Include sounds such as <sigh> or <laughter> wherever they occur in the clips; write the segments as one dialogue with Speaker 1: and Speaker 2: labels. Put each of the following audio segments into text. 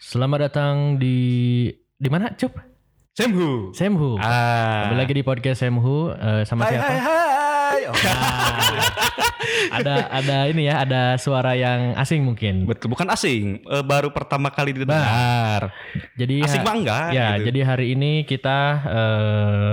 Speaker 1: Selamat datang di di mana cup?
Speaker 2: Semhu.
Speaker 1: Semhu.
Speaker 2: Ah.
Speaker 1: Kembali lagi di podcast Semhu eh, sama
Speaker 2: Hai
Speaker 1: siapa?
Speaker 2: hai hai. Oh,
Speaker 1: Ah. <laughs> ada ada ini ya, ada suara yang asing mungkin.
Speaker 2: betul, bukan asing. Eh, baru pertama kali didengar.
Speaker 1: Jadi
Speaker 2: Asing
Speaker 1: ha-
Speaker 2: mah enggak
Speaker 1: Ya,
Speaker 2: gitu.
Speaker 1: jadi hari ini kita eh,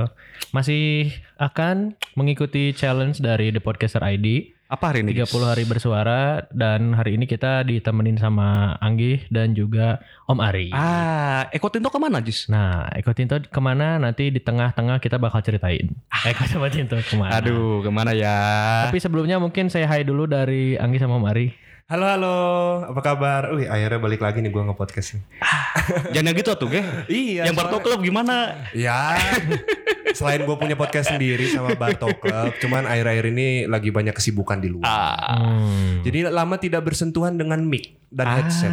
Speaker 1: masih akan mengikuti challenge dari The Podcaster ID
Speaker 2: Apa hari ini?
Speaker 1: 30 hari bersuara dan hari ini kita ditemenin sama Anggi dan juga Om Ari.
Speaker 2: Ah, Eko Tinto kemana Jis?
Speaker 1: Nah, Eko Tinto kemana nanti di tengah-tengah kita bakal ceritain. Eko sama Tinto kemana.
Speaker 2: Ah. Aduh, kemana ya?
Speaker 1: Tapi sebelumnya mungkin saya hai dulu dari Anggi sama Om Ari.
Speaker 3: Halo halo, apa kabar? Wih akhirnya balik lagi nih gue ngepodcast nih.
Speaker 2: Jangan yang gitu tuh, Ge.
Speaker 3: Iya.
Speaker 2: yang Barto Club gimana?
Speaker 3: Ya. <laughs> selain gue punya podcast sendiri sama Barto Club, cuman akhir-akhir ini lagi banyak kesibukan di luar.
Speaker 2: Ah.
Speaker 1: Hmm.
Speaker 3: Jadi lama tidak bersentuhan dengan mic dan headset.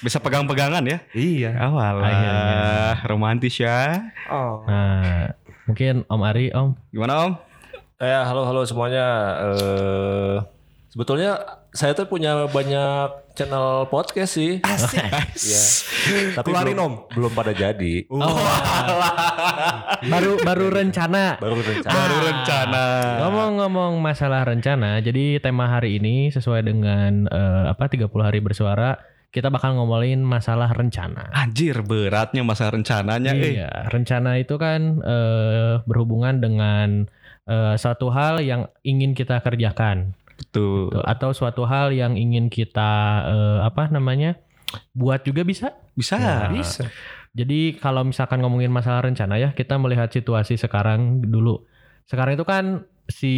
Speaker 2: Bisa pegang-pegangan ya?
Speaker 3: Iya.
Speaker 1: Akhirnya.
Speaker 2: Awalah, romantis ya.
Speaker 3: Oh.
Speaker 1: <laughs> nah, mungkin Om Ari, Om.
Speaker 2: Gimana Om?
Speaker 4: Eh, halo halo semuanya. Eh, sebetulnya saya tuh punya banyak channel podcast sih.
Speaker 3: Asik.
Speaker 4: Iya. Tapi
Speaker 3: Keluarin,
Speaker 4: belum,
Speaker 3: Om.
Speaker 4: belum pada jadi.
Speaker 3: Oh.
Speaker 1: Baru baru rencana.
Speaker 4: Baru rencana.
Speaker 2: Baru rencana.
Speaker 1: Ngomong-ngomong masalah rencana, jadi tema hari ini sesuai dengan eh, apa 30 hari bersuara, kita bakal ngomongin masalah rencana.
Speaker 2: Anjir, beratnya masa rencananya. Eh,
Speaker 1: Iya, rencana itu kan eh, berhubungan dengan eh, suatu hal yang ingin kita kerjakan
Speaker 2: betul.
Speaker 1: Tuh, atau suatu hal yang ingin kita eh, apa namanya? buat juga bisa.
Speaker 2: Bisa.
Speaker 3: Iya.
Speaker 1: Nah, Jadi kalau misalkan ngomongin masalah rencana ya, kita melihat situasi sekarang dulu. Sekarang itu kan si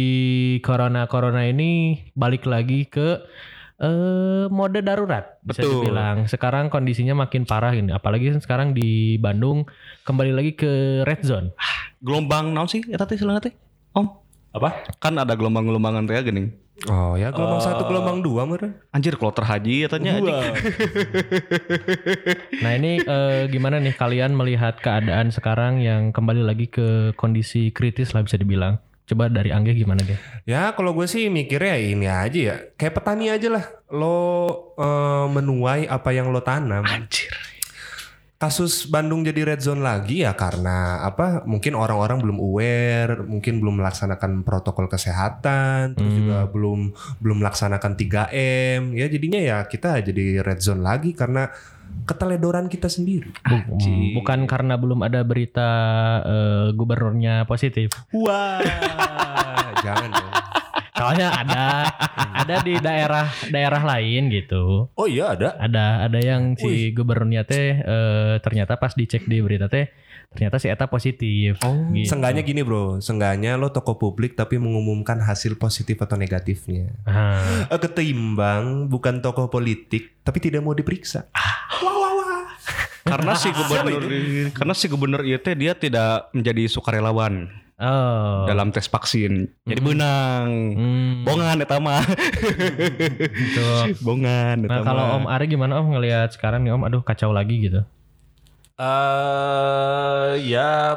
Speaker 1: corona-corona ini balik lagi ke eh mode darurat bisa
Speaker 2: Betul.
Speaker 1: dibilang. Sekarang kondisinya makin parah ini, apalagi kan sekarang di Bandung kembali lagi ke red zone.
Speaker 2: Gelombang naon sih? Eta teh silangna teh. Om.
Speaker 4: Apa?
Speaker 2: Kan ada gelombang-gelombangan teh gini.
Speaker 3: Oh ya gelombang satu gelombang dua meren.
Speaker 2: Anjir kloter haji katanya anjing.
Speaker 1: Nah ini eh, gimana nih kalian melihat keadaan sekarang yang kembali lagi ke kondisi kritis lah bisa dibilang. Coba dari Angge gimana deh?
Speaker 3: Ya kalau gue sih mikirnya ini aja ya, kayak petani aja lah. Lo eh, menuai apa yang lo tanam.
Speaker 2: Anjir.
Speaker 3: kasus Bandung jadi red zone lagi ya karena apa mungkin orang-orang belum aware mungkin belum melaksanakan protokol kesehatan terus
Speaker 1: Hmm.
Speaker 3: juga belum belum melaksanakan 3M ya jadinya ya kita jadi red zone lagi karena keteledoran kita sendiri
Speaker 4: Ah.
Speaker 1: Bu-
Speaker 2: Anjing.
Speaker 1: Bukan karena belum ada berita eh, gubernurnya positif.
Speaker 2: Wah.
Speaker 3: Ah, <laughs> jangan dong
Speaker 1: Soalnya ada ada di daerah daerah lain gitu.
Speaker 4: Oh iya ada.
Speaker 1: Ada ada yang si gubernurnya teh eh, ternyata pas dicek di berita teh ternyata si eta positif.
Speaker 2: Oh.
Speaker 1: Gitu.
Speaker 3: Seenggaknya gini bro Seenggaknya lo toko publik tapi mengumumkan hasil positif atau negatifnya
Speaker 1: Ah,
Speaker 3: Eh, Ketimbang bukan tokoh politik tapi tidak mau diperiksa
Speaker 1: <laughs>
Speaker 2: Karena si gubernur karena si gubernur ieu teh dia tidak menjadi sukarelawan
Speaker 1: oh.
Speaker 2: dalam tes vaksin. Jadi benang.
Speaker 1: Hmm,
Speaker 2: Bongan eta mah.
Speaker 1: gitu.
Speaker 2: <laughs> Bongan
Speaker 1: Nah
Speaker 2: eta
Speaker 1: kalau
Speaker 2: mah.
Speaker 1: Om Ari gimana Om ngelihat sekarang nih Om, aduh kacau lagi gitu.
Speaker 4: Eh, ya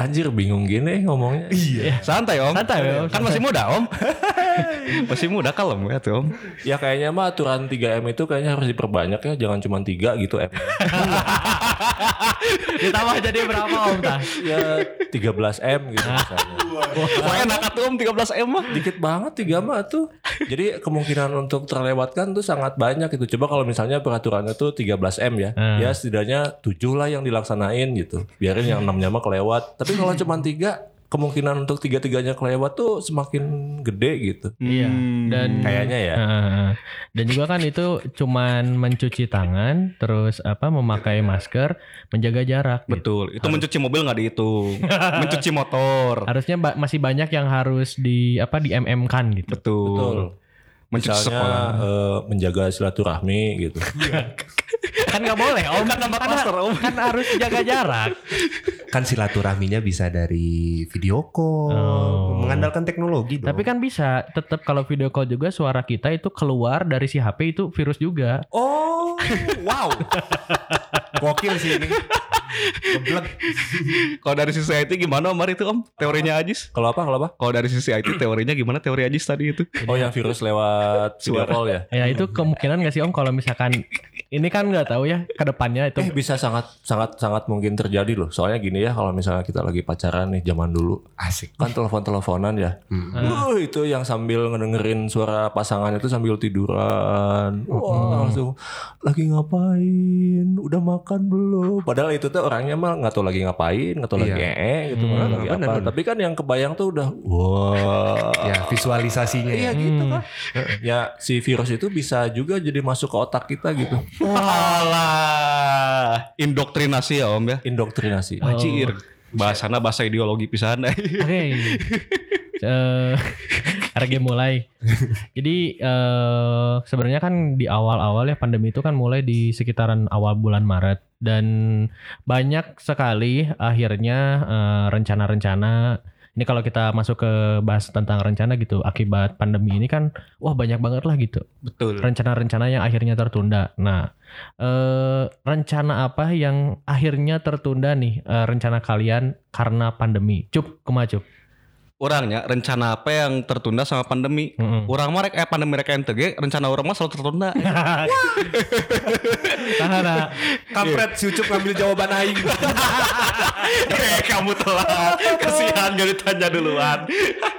Speaker 4: anjir bingung gini ngomongnya.
Speaker 3: Iya
Speaker 2: Santai Om.
Speaker 1: Santai, Om.
Speaker 2: Kan masih muda Om. <laughs> masih muda kalem ya tuh Om.
Speaker 4: Ya kayaknya mah aturan 3M itu kayaknya harus diperbanyak ya, jangan cuma 3 gitu M.
Speaker 1: Ditambah jadi berapa Om tah?
Speaker 4: ya 13M gitu misalnya.
Speaker 2: Wah, enak atuh Om 13 M mah.
Speaker 4: dikit banget tiga mah tuh. Jadi kemungkinan untuk terlewatkan tuh sangat banyak itu. Coba kalau misalnya peraturannya tuh 13 M ya.
Speaker 1: Hmm.
Speaker 4: Ya setidaknya 7 lah yang dilaksanain gitu. Biarin yang 6-nya mah kelewat. Tapi kalau cuma 3 kemungkinan untuk tiga-tiganya kelewat tuh semakin gede gitu.
Speaker 1: <laughs> Iya.
Speaker 2: Hmm,
Speaker 1: Dan
Speaker 4: Kayaknya ya.
Speaker 1: Heeh. Dan juga kan itu cuman mencuci tangan, terus apa memakai masker, menjaga jarak. gitu.
Speaker 2: Betul, itu mencuci mobil nggak
Speaker 1: <laughs>
Speaker 2: dihitung, mencuci motor,
Speaker 1: Harusnya ba- masih banyak yang harus di apa di MM kan gitu.
Speaker 4: Betul.
Speaker 2: betul, mencuci
Speaker 4: Misalnya
Speaker 2: sekolah.
Speaker 4: eh, menjaga silaturahmi gitu.
Speaker 1: <laughs> kan nggak boleh Om kan kan harus jaga jarak.
Speaker 3: kan silaturahminya bisa dari video call
Speaker 1: Oh.
Speaker 3: mengandalkan teknologi dong.
Speaker 1: <laughs> Tapi kan bisa tetap kalau video call juga suara kita itu keluar dari si HP itu virus juga.
Speaker 3: oh wow gokil
Speaker 1: <laughs>
Speaker 3: sih ini Geblek.
Speaker 2: Kalau dari sisi IT gimana Om Ari itu Om? Teorinya Ajis?
Speaker 4: Kalau apa kalau apa?
Speaker 2: Kalau dari sisi IT teorinya gimana teori Ajis tadi itu?
Speaker 4: Oh yang virus lewat
Speaker 2: Suara.
Speaker 4: video call ya.
Speaker 1: Ya itu kemungkinan nggak sih Om kalau misalkan Ini kan nggak tahu ya ke depannya itu.
Speaker 4: Eh bisa sangat sangat sangat mungkin terjadi loh. Soalnya gini ya kalau misalnya kita lagi pacaran nih zaman dulu
Speaker 3: Asik.
Speaker 4: kan telepon-teleponan ya.
Speaker 3: Hmm.
Speaker 4: Wuh, itu yang sambil ngedengerin suara pasangannya itu sambil tiduran.
Speaker 3: Hmm.
Speaker 4: Wah, langsung lagi ngapain? Udah makan belum? Padahal itu tuh orangnya mah nggak tahu lagi ngapain, nggak tahu lagi
Speaker 3: Iya.
Speaker 4: ee gitu,
Speaker 1: Hmm,
Speaker 4: nggak tahu lagi
Speaker 3: bener,
Speaker 4: apa.
Speaker 3: bener.
Speaker 4: Tapi kan yang kebayang tuh udah wah.
Speaker 3: Ya visualisasinya.
Speaker 4: Iya
Speaker 3: ya.
Speaker 4: gitu kan. Ya si virus itu bisa juga jadi masuk ke otak kita gitu.
Speaker 3: <laughs>
Speaker 2: Walah, indoktrinasi ya Om ya.
Speaker 4: Indoktrinasi.
Speaker 2: Wajir. Bahasana bahasa ideologi pisan.
Speaker 1: Oke. Eh, <laughs> RG mulai. Jadi eh sebenarnya kan di awal-awal ya pandemi itu kan mulai di sekitaran awal bulan Maret dan banyak sekali akhirnya eh, rencana-rencana ini kalau kita masuk ke bahas tentang rencana gitu akibat pandemi ini kan wah banyak banget lah gitu
Speaker 2: Betul.
Speaker 1: rencana-rencana yang akhirnya tertunda. Nah, eh, rencana apa yang akhirnya tertunda nih eh, rencana kalian karena pandemi? Cup, kemacup.
Speaker 2: Orangnya rencana apa yang tertunda sama pandemi?
Speaker 1: Mm-mm.
Speaker 2: Orang mah rek eh pandemi rek ente ge, rencana orang mah selalu tertunda.
Speaker 1: Karena
Speaker 3: Kampret si Ucup ngambil jawaban aing.
Speaker 2: <laughs> Eh, kamu telat. Kasihan gak ditanya duluan.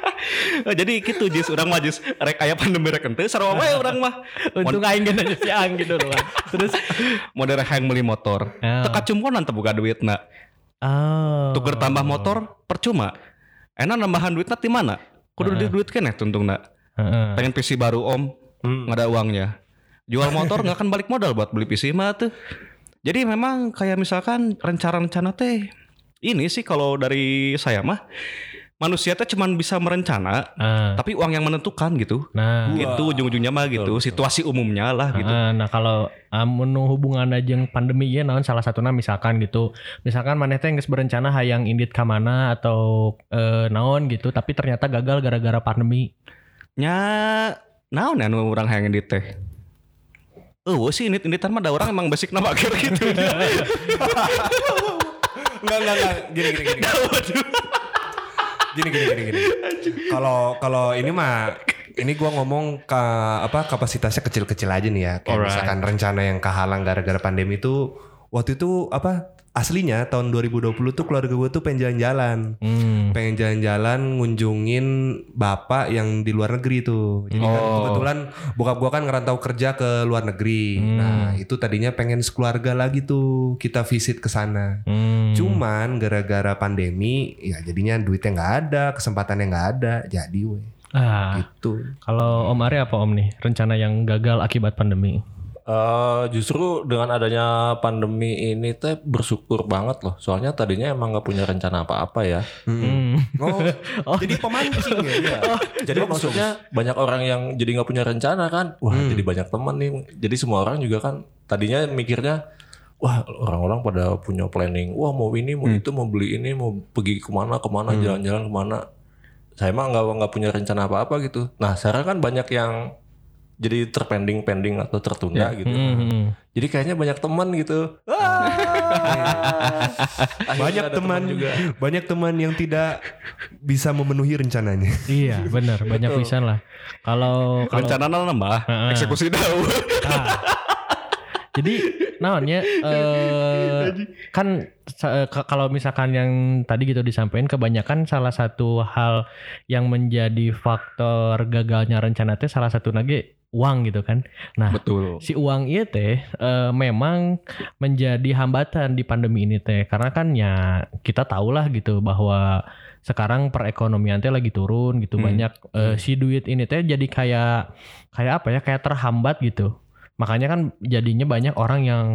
Speaker 2: <laughs> Jadi gitu Jis, orang mah Jis rek aya pandemi rek ente, sarua we ya orang mah.
Speaker 1: <laughs> untung aing gak nanya si Ang gitu doang. Terus
Speaker 2: Model hayang meuli motor.
Speaker 1: Oh.
Speaker 2: Teu kacumkonan teu buka duitna.
Speaker 1: oh.
Speaker 2: Tuker tambah motor percuma. Enak nambahan duitna di mana? Kudu di duit keneh tuntungna.
Speaker 1: Heeh.
Speaker 2: Pengen PC baru Om, nggak ada uangnya. Jual motor nggak akan balik modal buat beli PC mah tuh. Jadi memang kayak misalkan rencana-rencana teh ini sih kalau dari saya mah manusia teh cuman bisa merencana
Speaker 1: Ah,
Speaker 2: tapi uang yang menentukan gitu.
Speaker 1: Nah,
Speaker 2: Itu ujung-ujungnya mah gitu, situasi umumnya lah gitu.
Speaker 1: Heeh, nah kalau amun nu hubungan jeung pandemi ya naon salah satuna misalkan gitu. Misalkan maneh teh geus berencana hayang indit ka mana atau eh, naon gitu tapi ternyata gagal gara-gara pandemi.
Speaker 2: Nya naon ya nu urang hayang edit teh? Oh sih ini inditan mah ada orang emang basic nama akhir gitu. <laughs>
Speaker 3: Enggak enggak enggak. Gini gini gini. Gini gini gini gini. Kalau kalau ini mah ini gua ngomong ke apa kapasitasnya kecil-kecil aja nih ya. Kayak
Speaker 2: Alright.
Speaker 3: misalkan rencana yang kehalang gara-gara pandemi itu waktu itu apa aslinya tahun 2020 tuh keluarga gue tuh pengen jalan-jalan.
Speaker 1: Hmm.
Speaker 3: pengen jalan-jalan ngunjungin bapak yang di luar negeri tuh. Jadi kan
Speaker 2: Oh.
Speaker 3: kebetulan bokap gua kan ngerantau kerja ke luar negeri.
Speaker 1: Hmm.
Speaker 3: Nah, itu tadinya pengen sekeluarga lagi tuh kita visit ke sana.
Speaker 1: Hmm.
Speaker 3: Cuman gara-gara pandemi ya jadinya duitnya nggak ada, kesempatannya nggak ada. Jadi weh
Speaker 1: Ah,
Speaker 3: gitu.
Speaker 1: kalau Om Ari apa Om nih rencana yang gagal akibat pandemi?
Speaker 4: Eh, justru dengan adanya pandemi ini teh bersyukur banget loh. Soalnya tadinya emang nggak punya rencana apa-apa ya.
Speaker 1: Hmm.
Speaker 3: Oh,
Speaker 1: <laughs> Oh.
Speaker 3: jadi pemancing ya.
Speaker 1: <laughs>
Speaker 3: Iya.
Speaker 4: Jadi maksudnya banyak orang yang jadi nggak punya rencana kan. Wah, jadi banyak teman nih. Jadi semua orang juga kan tadinya mikirnya wah orang-orang pada punya planning. Wah, mau ini, mau itu, mau beli ini, mau pergi kemana, kemana, jalan-jalan kemana. Saya mah nggak nggak punya rencana apa-apa gitu. Nah, sekarang kan banyak yang jadi terpending-pending atau tertunda gitu.
Speaker 1: Hmm.
Speaker 4: Jadi kayaknya banyak teman gitu. Wah. Akhirnya
Speaker 3: Ah. banyak
Speaker 4: ada
Speaker 3: teman banyak teman yang tidak bisa memenuhi rencananya.
Speaker 1: Iya, benar, banyak pisan lah. Kalau kalau
Speaker 2: Rencana nambah,
Speaker 1: Heeh.
Speaker 2: eksekusi daun.
Speaker 1: Ah. Jadi naonnya eh kan sa- eh, ka- kalau misalkan yang tadi gitu disampaikan kebanyakan salah satu hal yang menjadi faktor gagalnya rencana teh salah satu lagi uang gitu kan. Nah,
Speaker 2: Betul.
Speaker 1: si uang iya teh eh, memang menjadi hambatan di pandemi ini teh karena kan ya kita tahulah gitu bahwa sekarang perekonomian teh lagi turun gitu
Speaker 2: Hmm.
Speaker 1: banyak eh, si duit ini teh jadi kayak kayak apa ya kayak terhambat gitu makanya kan jadinya banyak orang yang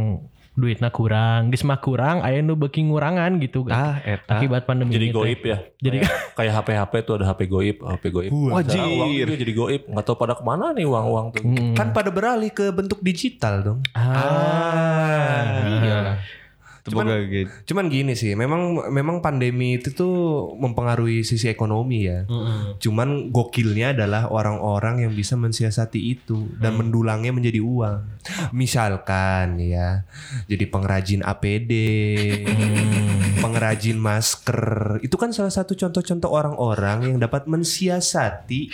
Speaker 1: duitnya kurang geus mah kurang aya nu beuki ngurangan gitu
Speaker 2: Ah, eta.
Speaker 1: akibat pandemi
Speaker 4: Jadi
Speaker 1: ini teh.
Speaker 4: goib ya.
Speaker 1: Jadi-
Speaker 4: kayak, kayak HP HP tuh ada HP goib, HP goib.
Speaker 3: Wah,
Speaker 4: Sekarang uang
Speaker 2: jir.
Speaker 4: juga jadi goib, nggak tahu pada kemana nih uang-uang tuh.
Speaker 1: Mm.
Speaker 3: Kan pada beralih ke bentuk digital dong.
Speaker 1: ah,
Speaker 2: Cuman, gitu.
Speaker 3: Cuman gini sih, memang memang pandemi itu tuh mempengaruhi sisi ekonomi ya. Cuman gokilnya adalah orang-orang yang bisa mensiasati itu dan mendulangnya menjadi uang. Misalkan ya, jadi pengrajin APD, pengrajin masker. Itu kan salah satu contoh-contoh orang-orang yang dapat mensiasati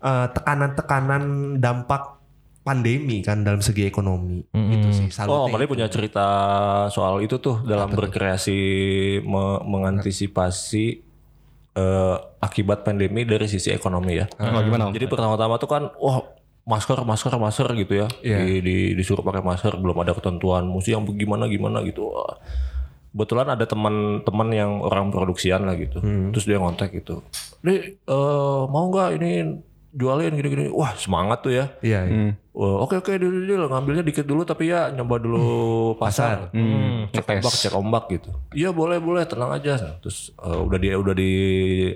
Speaker 3: eh, tekanan-tekanan dampak pandemi kan dalam segi ekonomi
Speaker 1: Mm-mm.
Speaker 3: gitu sih.
Speaker 4: Oh,
Speaker 3: salutnya
Speaker 4: Mali punya cerita soal itu tuh dalam berkreasi me- mengantisipasi eh, akibat pandemi dari sisi ekonomi ya.
Speaker 2: Oh, gimana Om?
Speaker 4: Jadi pertama-tama tuh kan, wah masker, masker, masker gitu ya. Di, di- disuruh pakai masker, belum ada ketentuan musuh yang gimana gimana gitu. Wah. Kebetulan ada teman-teman yang orang produksian lah gitu. Terus dia ngontek gitu. Di eh, mau nggak ini jualin gini-gini? Wah semangat tuh ya.
Speaker 3: Iya. iya.
Speaker 2: Hmm.
Speaker 4: Wah, Oke oke dulu dulu ngambilnya dikit dulu tapi ya nyoba dulu pasar.
Speaker 2: Hmm.
Speaker 4: Cek ombak, cek ombak gitu. Iya boleh boleh tenang aja. Terus eh, udah di udah di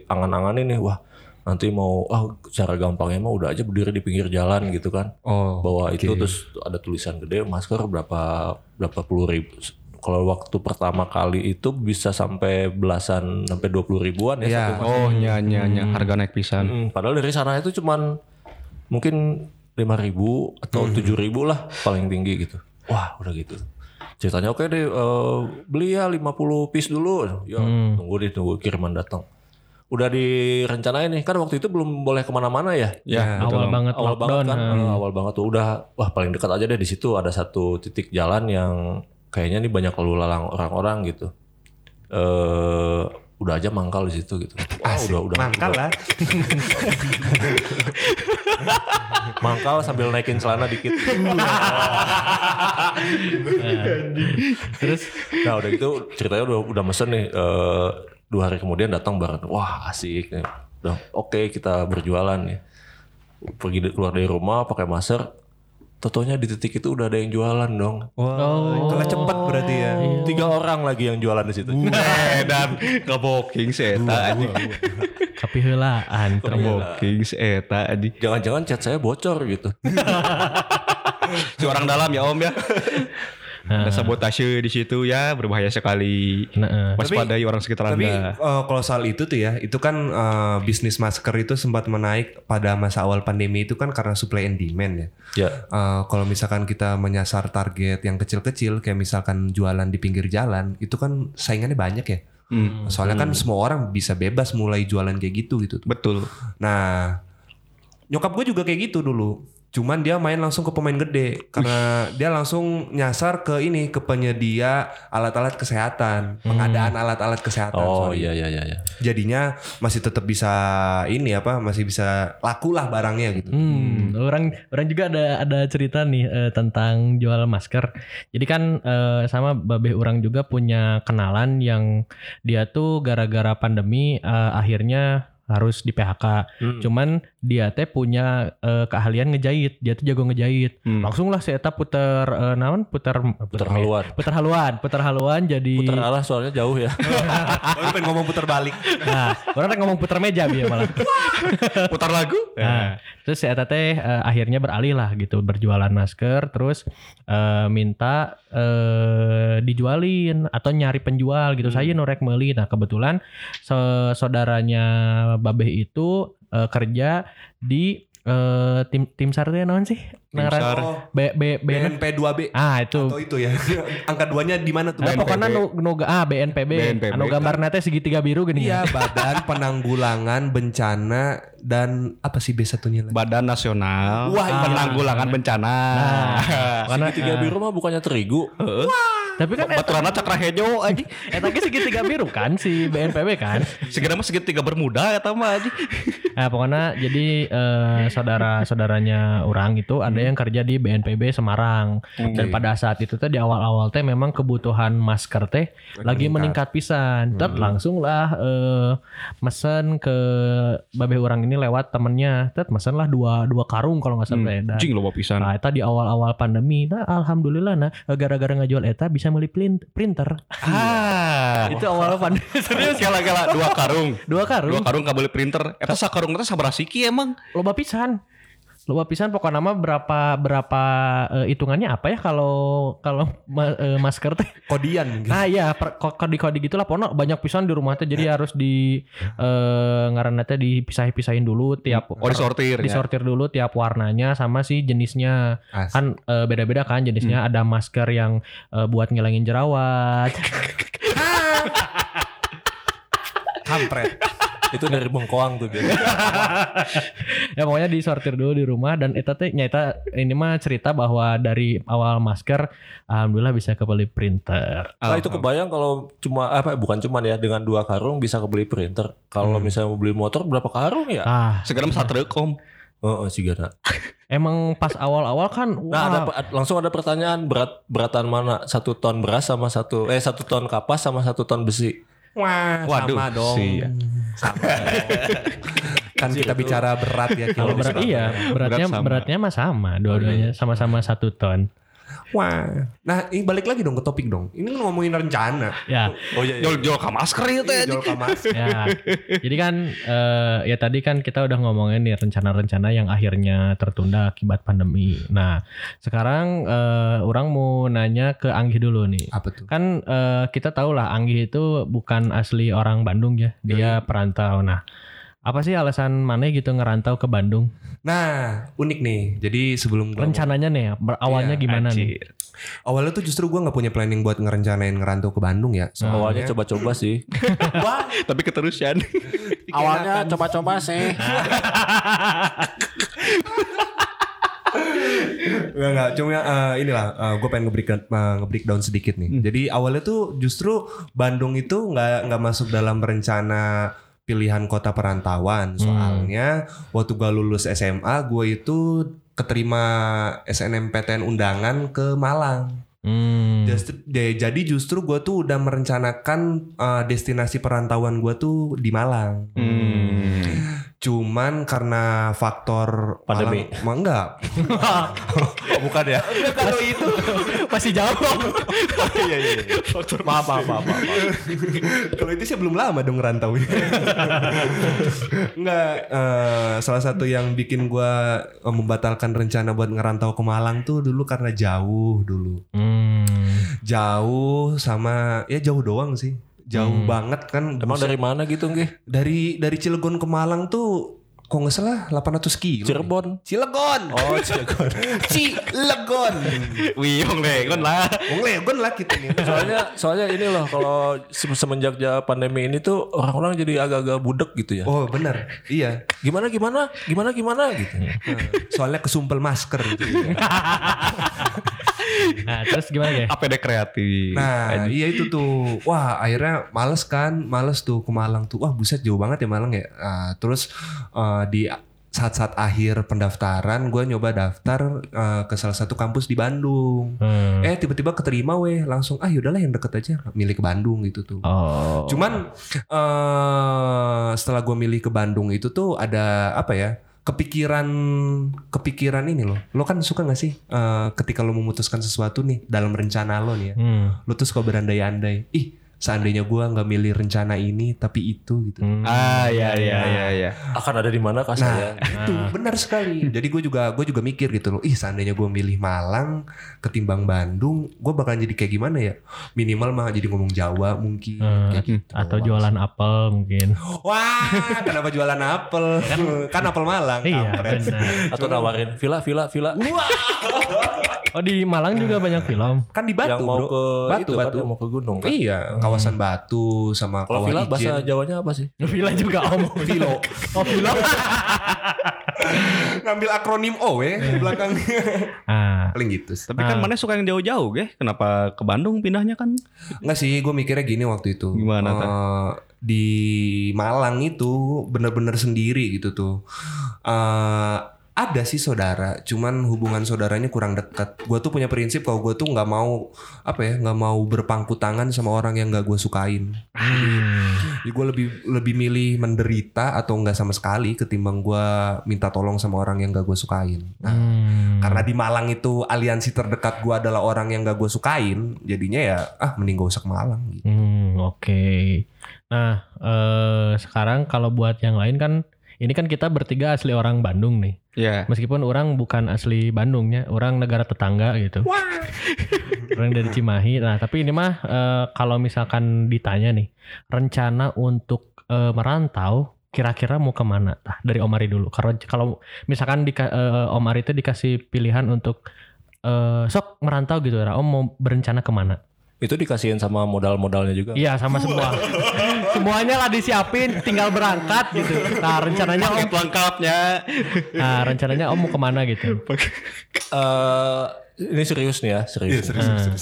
Speaker 4: angan-anganin nih wah nanti mau ah cara gampangnya mah udah aja berdiri di pinggir jalan gitu kan.
Speaker 3: Oh.
Speaker 4: Bawa itu terus ada tulisan gede masker berapa berapa puluh ribu. Kalau waktu pertama kali itu bisa sampai belasan sampai dua puluh ribuan ya
Speaker 3: Iya.
Speaker 4: satu
Speaker 2: Oh, nya nya nya harga naik pisan.
Speaker 4: Mm, padahal dari sana itu cuman mungkin lima ribu atau tujuh ribu lah paling tinggi gitu. Wah udah gitu. Ceritanya oke deh eh, beli ya 50 piece dulu. Ya tunggu deh tunggu kiriman datang. Udah direncanain nih kan waktu itu belum boleh kemana-mana ya.
Speaker 2: Ya,
Speaker 1: awal
Speaker 2: betul, <laughs> Om.
Speaker 1: banget
Speaker 4: Awal
Speaker 1: lockdown.
Speaker 4: banget kan,
Speaker 1: ha.
Speaker 4: eh, awal banget tuh udah wah paling dekat aja deh di situ ada satu titik jalan yang kayaknya nih banyak lalu lalang orang-orang gitu. Eh udah aja mangkal di situ gitu. Wah, udah udah
Speaker 3: Mangkal lah.
Speaker 4: mangkal sambil naikin celana dikit.
Speaker 1: Terus
Speaker 4: nah udah gitu ceritanya udah udah mesen nih eh, dua hari kemudian datang bareng. Wah asik nih. Udah oke kita berjualan nih. Pergi de- keluar dari rumah pakai masker. Totonya di titik itu udah ada yang jualan dong.
Speaker 1: Oh.
Speaker 3: Kalah cepat berarti ya.
Speaker 4: Tiga orang lagi yang jualan di situ.
Speaker 2: Uh. Edan keboking si eta anjing.
Speaker 1: tapi helaan
Speaker 2: Iya. Keboking si eta anjing.
Speaker 4: Jangan-jangan chat saya bocor gitu.
Speaker 2: Si orang dalam ya <laughs> Om ya. Ada sabotase di situ ya berbahaya sekali.
Speaker 1: Nah, eh.
Speaker 2: Waspadai orang sekitar
Speaker 3: Tapi
Speaker 2: Anda.
Speaker 3: eh, kalau soal itu tuh ya, itu kan eh, bisnis masker itu sempat menaik pada masa awal pandemi itu kan karena supply and demand ya.
Speaker 4: Ya.
Speaker 3: Eh, kalau misalkan kita menyasar target yang kecil-kecil kayak misalkan jualan di pinggir jalan, itu kan saingannya banyak ya.
Speaker 2: Hmm.
Speaker 3: Soalnya kan semua orang bisa bebas mulai jualan kayak gitu gitu.
Speaker 2: Betul.
Speaker 3: Nah, nyokap gue juga kayak gitu dulu. Cuman dia main langsung ke pemain gede karena dia langsung nyasar ke ini ke penyedia alat-alat kesehatan, pengadaan alat-alat kesehatan.
Speaker 4: Oh
Speaker 3: sorry.
Speaker 4: iya iya iya. iya.
Speaker 3: Jadinya masih tetap bisa ini apa? Masih bisa laku lah barangnya <laughs> gitu.
Speaker 1: Hmm, orang orang juga ada ada cerita nih eh, tentang jual masker. Jadi kan eh, sama babeh orang juga punya kenalan yang dia tuh gara-gara pandemi eh, akhirnya harus di PHK.
Speaker 4: Hmm.
Speaker 1: Cuman dia teh punya eh, keahlian ngejahit. Dia tuh jago ngejahit.
Speaker 2: Hmm.
Speaker 1: Langsung lah si Eta puter eh, naon? Puter
Speaker 4: Putar haluan.
Speaker 1: Puter haluan, puter haluan jadi
Speaker 4: Putar arah soalnya jauh ya.
Speaker 3: Baru Oh, pengen ngomong putar balik.
Speaker 1: Nah, orang teh ngomong puter meja biar malah.
Speaker 2: Putar lagu?
Speaker 1: Nah, terus si Eta teh eh, akhirnya beralih lah gitu berjualan masker terus eh, minta eh, dijualin atau nyari penjual gitu. Saya norek meuli. Nah, kebetulan so- saudaranya Babeh itu eh, kerja di eh, tim tim SAR teh naon sih?
Speaker 2: Tim
Speaker 1: Ngaran-
Speaker 3: Oh,
Speaker 2: SAR.
Speaker 1: B, B, B,
Speaker 3: BNP2B.
Speaker 1: Ah, itu.
Speaker 3: Atau itu ya. <laughs> Angka duanya di mana tuh?
Speaker 1: Nah, pokoknya nu, nu, ah, BNPB,
Speaker 2: BNPB.
Speaker 1: anu gambarna teh segitiga biru gini ya.
Speaker 3: Iya, <laughs> Badan Penanggulangan Bencana dan apa sih B satunya lagi?
Speaker 2: Badan Nasional
Speaker 3: Wah, iya.
Speaker 2: Penanggulangan Bencana. Iya,
Speaker 4: Segitiga
Speaker 3: ya.
Speaker 4: biru mah bukannya terigu.
Speaker 1: Tapi kan eta,
Speaker 2: Baturana cakra hejo aja.
Speaker 1: eta ge segitiga biru kan si BNPB kan.
Speaker 2: Segera mah segitiga bermuda ya mah aja.
Speaker 1: Nah, pokoknya jadi eh, saudara-saudaranya orang itu ada yang kerja di BNPB Semarang. Dan pada saat itu teh di awal-awal teh memang kebutuhan masker teh lagi meningkat Hmm. pisan. Tet langsung lah eh, mesen ke babeh orang ini lewat temennya. Tet mesen lah dua dua karung kalau nggak salah teh. Dan-
Speaker 2: Hmm, Anjing loba pisan.
Speaker 1: Nah, eta di awal-awal pandemi, nah alhamdulillah nah gara-gara ngejual eta bisa beli plin- printer.
Speaker 2: Ah.
Speaker 1: itu awal pandemi. <laughs>
Speaker 2: Serius kala kala dua karung.
Speaker 1: Dua karung,
Speaker 2: Dua karung kabel printer. Eta sakarung teh sabaraha siki emang?
Speaker 1: loba pisan loba pisan pokok nama berapa berapa eh, hitungannya apa ya kalau kalau ma- eh, masker
Speaker 2: <laughs>
Speaker 1: teh
Speaker 3: Kodian mungkin.
Speaker 1: ah iya kode kode gitulah pokoknya banyak pisan di rumah teh
Speaker 2: Iya.
Speaker 1: jadi harus di eh, ngaranna teh dipisah pisahin dulu tiap
Speaker 2: Oh disortir. ya.
Speaker 1: disortir dulu tiap warnanya sama si jenisnya
Speaker 3: As-
Speaker 1: kan eh, beda-beda kan jenisnya
Speaker 2: Hmm.
Speaker 1: ada masker yang eh, buat ngilangin jerawat
Speaker 3: Kampret.
Speaker 4: itu dari Bengkoang <laughs> tuh Nah, biasanya.
Speaker 1: <laughs> ya pokoknya disortir dulu di rumah dan eta teh nyata ini mah cerita bahwa dari awal masker alhamdulillah bisa kebeli printer.
Speaker 4: Nah,
Speaker 2: Ah,
Speaker 4: itu kebayang kalau cuma apa bukan cuman ya dengan dua karung bisa kebeli printer. Kalau misalnya mau beli motor berapa karung ya?
Speaker 1: Ah,
Speaker 2: Sekarang satrek om.
Speaker 4: Oh, oh sigana.
Speaker 1: emang pas awal-awal kan
Speaker 4: Nah, ada,
Speaker 1: wah,
Speaker 4: pe- langsung ada pertanyaan berat beratan mana? Satu ton beras sama satu eh satu ton kapas sama satu ton besi.
Speaker 3: Wah,
Speaker 2: Waduh,
Speaker 3: sama dong.
Speaker 2: sia.
Speaker 3: Sama. <laughs> kan kita bicara berat ya
Speaker 1: kalau
Speaker 3: kalau
Speaker 1: berat
Speaker 3: misalkan.
Speaker 1: iya, beratnya
Speaker 2: Berat sama.
Speaker 1: beratnya mah sama, dua-duanya sama-sama satu ton.
Speaker 3: Wah. Nah, ini balik lagi dong ke topik dong. Ini kan ngomongin rencana.
Speaker 1: Ya,
Speaker 4: Oh iya.
Speaker 2: Jol jol ka masker itu
Speaker 3: Iya,
Speaker 2: teh.
Speaker 3: jual kamas.
Speaker 1: ya. Jadi kan eh, ya tadi kan kita udah ngomongin nih rencana-rencana yang akhirnya tertunda akibat pandemi. Nah, sekarang eh, orang mau nanya ke Anggi dulu nih.
Speaker 3: Apa tuh?
Speaker 1: Kan eh, kita tahu lah Anggi itu bukan asli orang Bandung ya. Dia perantau. Nah, apa sih alasan mana gitu ngerantau ke Bandung?
Speaker 3: Nah, unik nih. Jadi sebelum gua
Speaker 1: Rencananya nih, ber- awalnya
Speaker 3: Iya,
Speaker 1: gimana nih?
Speaker 2: Anjir.
Speaker 3: awalnya tuh justru gua nggak punya planning buat ngerencanain ngerantau ke Bandung ya.
Speaker 4: Awalnya coba-coba sih.
Speaker 2: Tapi keterusan.
Speaker 4: <laughs> Awalnya coba-coba sih.
Speaker 3: Enggak, enggak. Cuma eh, inilah, gue pengen nge-breakdown, eh, nge-breakdown sedikit nih.
Speaker 4: Hmm.
Speaker 3: Jadi awalnya tuh justru Bandung itu nggak nggak masuk dalam rencana pilihan kota
Speaker 4: Hmm.
Speaker 3: perantauan. Soalnya waktu gue lulus SMA, gue itu keterima SNMPTN undangan ke Malang.
Speaker 1: Hmm.
Speaker 3: Justru- ya, jadi justru gue tuh udah merencanakan eh, destinasi perantauan gue tuh di Malang.
Speaker 2: Hmm.
Speaker 3: Cuman karena faktor
Speaker 4: Pandemi.
Speaker 3: Malang, Ma- enggak. <laughs>
Speaker 4: bukan ya.
Speaker 3: Kalau itu
Speaker 1: Pasti jawab.
Speaker 4: Iya iya. iya. <laughs> Maaf maaf maaf. maaf.
Speaker 3: Kalau itu sih belum lama dong ngerantaunya.
Speaker 4: <laughs>
Speaker 3: Enggak, eh, salah satu yang bikin gua eh, membatalkan rencana buat ngerantau ke Malang tuh dulu karena jauh dulu.
Speaker 1: Hmm.
Speaker 3: Jauh sama ya jauh doang sih. Jauh banget kan.
Speaker 4: Hmm. Emang
Speaker 3: Buset.
Speaker 4: dari mana gitu, Nggih?
Speaker 3: dari dari Cilegon ke Malang tuh kok nggak salah 800 kilo.
Speaker 4: Cirebon.
Speaker 3: Cilegon.
Speaker 4: Oh, Cirebon.
Speaker 3: <laughs> Cilegon.
Speaker 2: <laughs> Wih, Om Legon lah.
Speaker 3: Wong Oh, Legon lah kita nih.
Speaker 4: soalnya soalnya ini loh kalau se- semenjak ja- pandemi ini tuh orang-orang jadi agak-agak budek gitu ya
Speaker 3: Oh benar, iya.
Speaker 4: gimana gimana gimana gimana gitu
Speaker 3: Soalnya kesumpel masker. Gitu.
Speaker 1: Nah, terus gimana ya?
Speaker 2: APD kreatif.
Speaker 3: Nah iya itu tuh Wah akhirnya males kan Males tuh ke Malang tuh Wah buset jauh banget ya Malang ya Ah, Terus eh, di saat-saat akhir pendaftaran Gue nyoba daftar eh, ke salah satu kampus di Bandung
Speaker 1: Hmm.
Speaker 3: Eh tiba-tiba keterima weh Langsung ah yaudahlah yang deket aja Milih ke Bandung gitu tuh
Speaker 1: Oh.
Speaker 3: Cuman eh setelah gue milih ke Bandung itu tuh ada apa ya kepikiran kepikiran ini loh lo kan suka gak sih eh, ketika lo memutuskan sesuatu nih dalam rencana lo nih ya
Speaker 1: Hmm.
Speaker 3: lu tuh suka berandai-andai ih seandainya gua nggak milih rencana ini tapi itu gitu
Speaker 1: Hmm.
Speaker 3: Nah,
Speaker 2: Ah, ya ya ya ya.
Speaker 4: akan ada di mana ya? kah saya
Speaker 3: itu
Speaker 1: Ah.
Speaker 3: benar sekali jadi gue juga gue juga mikir gitu loh ih seandainya gua milih Malang ketimbang Bandung gua bakalan jadi kayak gimana ya minimal mah jadi ngomong Jawa mungkin
Speaker 1: Hmm,
Speaker 3: kayak gitu
Speaker 1: atau jualan apel mungkin.
Speaker 3: wah kenapa jualan apel kan, apel Malang
Speaker 1: iya,
Speaker 3: kampret.
Speaker 1: benar.
Speaker 4: atau nawarin villa villa villa
Speaker 1: Oh, di Malang juga banyak
Speaker 3: <laughs>
Speaker 1: film.
Speaker 3: kan di Batu
Speaker 4: yang mau
Speaker 3: bro
Speaker 4: ke
Speaker 3: Batu,
Speaker 4: itu kan,
Speaker 3: Batu.
Speaker 4: yang mau ke gunung kan
Speaker 3: iya kawasan Batu sama
Speaker 4: kalau
Speaker 3: Kawah
Speaker 4: villa
Speaker 3: Ijen.
Speaker 4: bahasa Jawanya apa sih
Speaker 1: Villa juga om. Vilo. <laughs> Oh, Vilo.
Speaker 3: ngambil akronim O ya di belakangnya
Speaker 1: ah.
Speaker 3: paling gitu sih.
Speaker 2: Tapi kan
Speaker 1: Nah.
Speaker 2: mana suka yang jauh-jauh, geh? Kenapa ke Bandung pindahnya kan?
Speaker 3: Enggak sih, gue mikirnya gini waktu itu.
Speaker 2: Gimana, Tan?
Speaker 3: Eh, di Malang itu bener-bener sendiri gitu tuh. Eh ada sih saudara, cuman hubungan saudaranya kurang dekat. Gue tuh punya prinsip kalau gue tuh nggak mau apa ya, nggak mau berpangku tangan sama orang yang nggak gue sukain.
Speaker 1: Hmm.
Speaker 3: Jadi gue lebih lebih milih menderita atau nggak sama sekali ketimbang gue minta tolong sama orang yang nggak gue sukain. Nah,
Speaker 1: Hmm.
Speaker 3: karena di Malang itu aliansi terdekat gua adalah orang yang gak gue sukain jadinya ya ah mending gak usah ke Malang gitu
Speaker 1: Hmm, oke. Nah, eh sekarang kalau buat yang lain kan ini kan kita bertiga asli orang Bandung nih.
Speaker 2: Ya.
Speaker 1: Meskipun orang bukan asli Bandungnya, orang negara tetangga gitu. <laughs> orang dari Cimahi. Nah, tapi ini mah eh, kalau misalkan ditanya nih, rencana untuk eh, merantau kira-kira mau kemana? Nah, dari Om Ari dulu. Karena kalau misalkan di, Om Ari eh, itu dikasih pilihan untuk eh, sok merantau gitu, ya, Om mau berencana kemana?
Speaker 4: Itu dikasihin sama modal-modalnya juga.
Speaker 1: Iya sama semua. Semuanya lah disiapin, tinggal berangkat gitu. Nah rencananya om,
Speaker 2: Paket lengkapnya.
Speaker 1: nah, rencananya om mau kemana gitu?
Speaker 4: Eh, ini serius nih ya, serius. nih.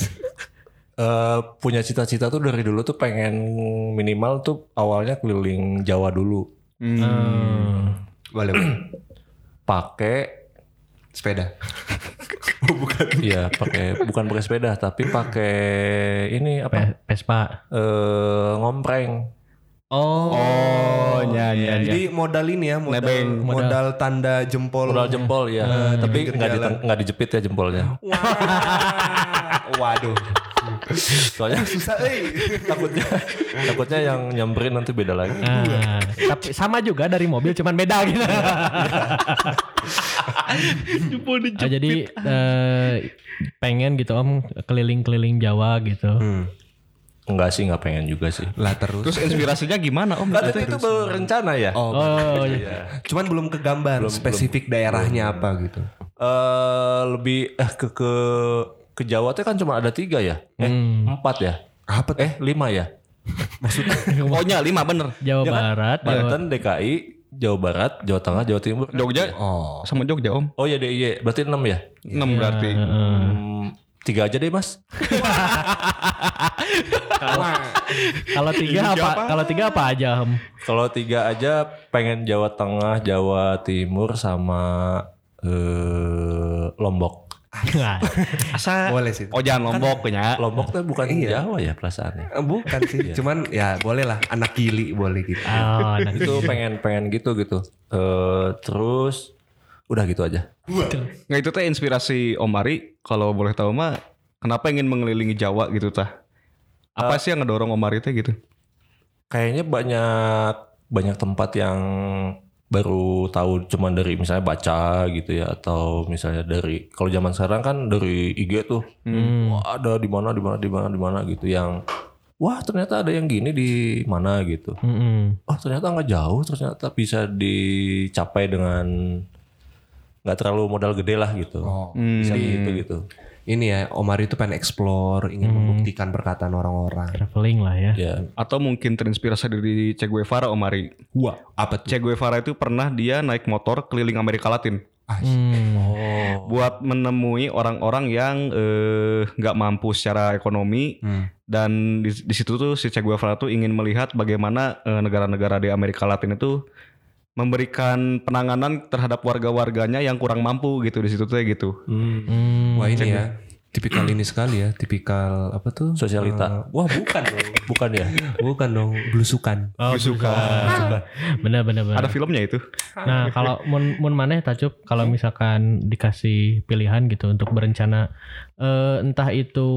Speaker 4: Eh, punya cita-cita tuh dari dulu tuh pengen minimal tuh awalnya keliling Jawa dulu.
Speaker 3: Boleh.
Speaker 4: Pakai
Speaker 3: <clears throat> Sepeda.
Speaker 4: ya pakai bukan pakai sepeda tapi pakai ini apa?
Speaker 1: Pe- Vespa.
Speaker 4: Eh, ngompreng.
Speaker 1: Oh.
Speaker 2: Oh,
Speaker 3: iya,
Speaker 2: ya, ya, ya.
Speaker 3: Jadi modal ini ya, modal
Speaker 2: Nebeng.
Speaker 3: modal tanda jempol.
Speaker 4: Modal
Speaker 3: <laughs>
Speaker 4: jempol ya, tapi nggak di, nggak dijepit ya jempolnya.
Speaker 3: Waduh,
Speaker 4: <laughs> Soalnya
Speaker 3: susah eh. euy.
Speaker 4: takutnya takutnya yang nyamperin nanti beda lagi.
Speaker 1: Nah, tapi sama juga dari mobil cuman beda gitu. Ah, jadi eh, pengen gitu om keliling-keliling Jawa gitu.
Speaker 4: Enggak sih, nggak pengen juga sih.
Speaker 3: Lah terus.
Speaker 2: Terus inspirasinya gimana
Speaker 4: <laughs>
Speaker 2: Om?
Speaker 4: Kan itu berencana ya.
Speaker 3: Oh,
Speaker 1: Oh,
Speaker 3: cuman belum kegambar spesifik daerahnya apa gitu.
Speaker 4: eh lebih eh ke ke ke Jawa tuh kan cuma ada tiga ya, eh
Speaker 1: Hmm.
Speaker 4: empat ya,
Speaker 3: Apa
Speaker 4: eh lima ya,
Speaker 2: Pokoknya lima bener.
Speaker 1: Jawa Barat, Jawa
Speaker 4: Banten, DKI, Jawa Barat, Jawa Tengah, Jawa Timur.
Speaker 2: Jogja.
Speaker 3: Oh.
Speaker 2: Sama Jogja Om.
Speaker 4: Oh ya DIY, berarti enam ya.
Speaker 2: Enam berarti.
Speaker 4: Hmm, tiga aja deh mas.
Speaker 1: Kalau tiga apa? Kalau tiga apa aja, Om?
Speaker 4: Kalau tiga aja pengen Jawa Tengah, Jawa Timur sama eh Lombok.
Speaker 1: Nah,
Speaker 2: Asa
Speaker 3: Boleh sih.
Speaker 2: Ojan Oh, Lombok ya. nya.
Speaker 4: Lombok tuh bukan Jawa ya
Speaker 3: <laughs>
Speaker 4: perasaannya.
Speaker 3: Eh, Bukan sih, cuman ya boleh lah anak gili boleh gitu.
Speaker 1: oh, nah.
Speaker 4: Itu pengen pengen gitu gitu. eh terus udah gitu aja.
Speaker 2: Nggak itu teh inspirasi Om Ari kalau boleh tahu mah kenapa ingin mengelilingi Jawa gitu tah? Apa sih yang ngedorong Om Ari teh gitu?
Speaker 4: kayaknya banyak banyak tempat yang baru tahu cuman dari misalnya baca gitu ya atau misalnya dari kalau zaman sekarang kan dari IG tuh
Speaker 1: Hmm.
Speaker 4: wah, ada di mana di mana di mana di mana gitu yang wah ternyata ada yang gini di mana gitu
Speaker 1: Mm-mm.
Speaker 4: oh ternyata nggak jauh ternyata bisa dicapai dengan nggak terlalu modal gede lah gitu bisa gitu gitu
Speaker 3: Oh. Ini ya, Omar itu pengen explore, ingin membuktikan perkataan orang-orang.
Speaker 1: Traveling lah ya.
Speaker 4: ya
Speaker 2: Atau mungkin terinspirasi dari Che Guevara Om Ari?
Speaker 3: Wah, apa tuh?
Speaker 2: Che Guevara itu pernah dia naik motor keliling Amerika Latin
Speaker 3: Ah,
Speaker 1: Hmm.
Speaker 2: buat menemui orang-orang yang eh, nggak mampu secara ekonomi
Speaker 3: Hmm.
Speaker 2: dan di, di situ tuh si Che Guevara tuh ingin melihat bagaimana eh, negara-negara di Amerika Latin itu memberikan penanganan terhadap warga-warganya yang kurang mampu gitu di situ tuh gitu.
Speaker 1: Hmm.
Speaker 3: Wah ini ya, tipikal ini sekali ya, tipikal apa tuh? Eh,
Speaker 4: sosialita wah bukan dong. bukan ya
Speaker 3: Bukan dong, belusukan.
Speaker 1: Oh, suka. Bener, bener, bener.
Speaker 2: Ada filmnya itu.
Speaker 1: Nah, kalau mun mun maneh tacup kalau misalkan dikasih pilihan gitu untuk berencana eh, entah itu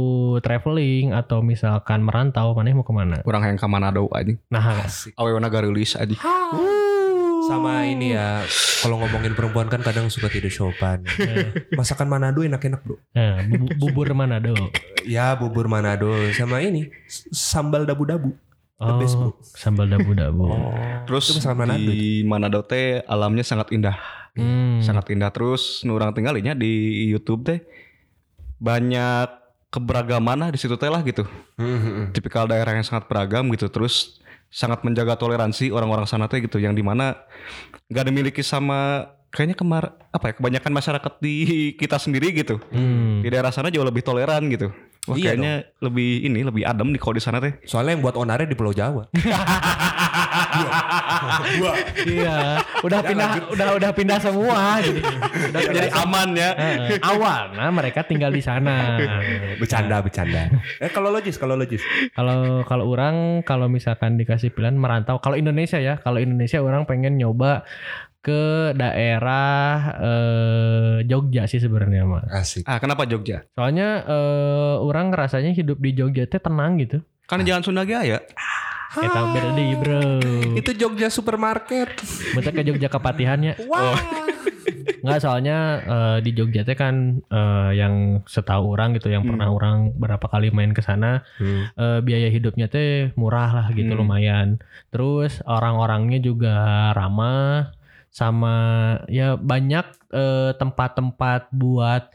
Speaker 1: traveling atau misalkan merantau, maneh mau kemana?
Speaker 2: Kurang yang ke Manado aja.
Speaker 1: Nah,
Speaker 2: Awewena garulis aja.
Speaker 3: Sama ini ya, kalau ngomongin perempuan kan kadang suka tidak <laughs> sopan. Masakan Manado enak-enak bro.
Speaker 1: eh, bu- bubur Manado. <laughs>
Speaker 3: Ya bubur Manado sama ini s- sambal dabu-dabu. The best,
Speaker 1: Oh,
Speaker 3: bro.
Speaker 1: sambal
Speaker 3: Oh.
Speaker 1: dabu-dabu.
Speaker 2: Terus
Speaker 3: Itu masakan Manado
Speaker 2: di Manado teh alamnya sangat indah.
Speaker 1: Hmm.
Speaker 2: sangat indah terus nurang tinggalinya di YouTube teh banyak keberagaman lah di situ teh lah gitu
Speaker 3: Hmm,
Speaker 2: tipikal daerah yang sangat beragam gitu terus sangat menjaga toleransi orang-orang sana teh gitu yang dimana nggak dimiliki sama kayaknya kemar apa ya kebanyakan masyarakat di kita sendiri gitu
Speaker 1: Hmm.
Speaker 2: di daerah sana jauh lebih toleran gitu Wah,
Speaker 3: Iya
Speaker 2: kayaknya lebih ini lebih adem di kalau di sana teh
Speaker 3: Soalnya yang buat onare di Pulau <laughs> Jawa.
Speaker 1: Iya, udah pindah udah udah pindah <laughs> semua jadi. Udah
Speaker 3: Iya,
Speaker 1: pindah
Speaker 2: jadi aman ya
Speaker 1: Eh, awalnya mereka tinggal di sana. <laughs>
Speaker 3: Bercanda, bercanda. iya. Eh kalau logis, kalau logis.
Speaker 1: Kalau kalau orang kalau misalkan dikasih pilihan merantau, kalau Indonesia ya, kalau Indonesia orang pengen nyoba ke daerah eh, Jogja sih sebenarnya mah.
Speaker 3: Asik.
Speaker 2: ah kenapa Jogja
Speaker 1: Soalnya eh, orang rasanya hidup di Jogja teh tenang gitu.
Speaker 2: kan jalan Sunda Gaya
Speaker 1: Kita beda
Speaker 3: Ah.
Speaker 1: di bro.
Speaker 3: Itu Jogja supermarket.
Speaker 1: Betul ke Jogja kepatihannya. <laughs>
Speaker 3: Wah.
Speaker 1: Enggak soalnya eh, di Jogja teh kan eh, yang setahu orang gitu yang pernah orang berapa kali main ke sana eh, biaya hidupnya teh murah lah gitu
Speaker 2: Hmm.
Speaker 1: lumayan. Terus orang-orangnya juga ramah sama ya banyak eh, tempat-tempat buat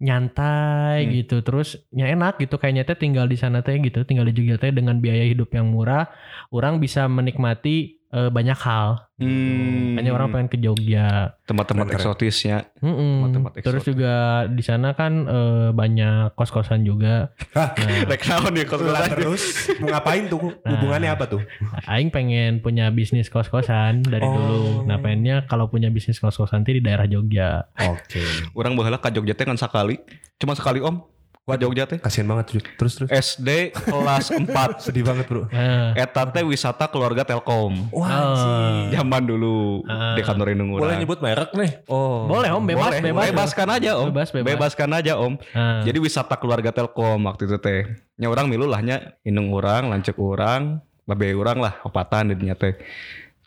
Speaker 1: nyantai
Speaker 2: Hmm.
Speaker 1: gitu terus ya enak gitu kayaknya teh tinggal di sana teh gitu tinggal di Jogja teh dengan biaya hidup yang murah orang bisa menikmati eh, banyak hal
Speaker 2: Hmm.
Speaker 1: hanya orang pengen ke Jogja
Speaker 2: tempat-tempat
Speaker 3: Keren, keren.
Speaker 2: eksotisnya.
Speaker 1: Mm-mm.
Speaker 2: Tempat-tempat eksotis.
Speaker 1: terus juga di sana kan eh, banyak kos kosan
Speaker 2: <laughs>
Speaker 1: juga
Speaker 3: Hah?
Speaker 1: nah,
Speaker 2: Reksaun ya kalau nggak
Speaker 3: Lah,
Speaker 2: salah.
Speaker 3: terus mau ngapain tuh hubungannya apa tuh
Speaker 1: Aing pengen punya bisnis kos kosan dari
Speaker 3: Oh.
Speaker 1: dulu nah pengennya kalau punya bisnis kos kosan teh di daerah Jogja
Speaker 3: oke
Speaker 2: Orang bahala ke Jogja teh kan sekali. Cuma sekali om. Ke Jogja teh.
Speaker 3: kasihan banget Juk. terus terus
Speaker 2: SD kelas 4.
Speaker 3: Eh, sedih banget bro
Speaker 1: nah,
Speaker 2: Eta teh wisata keluarga Telkom.
Speaker 1: Oh.
Speaker 3: wah anjing.
Speaker 2: Zaman dulu
Speaker 1: Ah.
Speaker 2: di kantor indung
Speaker 4: Boleh
Speaker 2: urang.
Speaker 4: nyebut merek nih.
Speaker 3: oh
Speaker 1: boleh om bebas
Speaker 2: Boleh,
Speaker 1: bebas
Speaker 2: bebaskan aja om.
Speaker 1: Bebas, bebas.
Speaker 2: Bebaskan aja om.
Speaker 1: Nah,
Speaker 2: Jadi wisata keluarga Telkom waktu itu teh. Nya orang milu lah nya indung urang, lancek urang, babe urang lah opatan di dinya teh.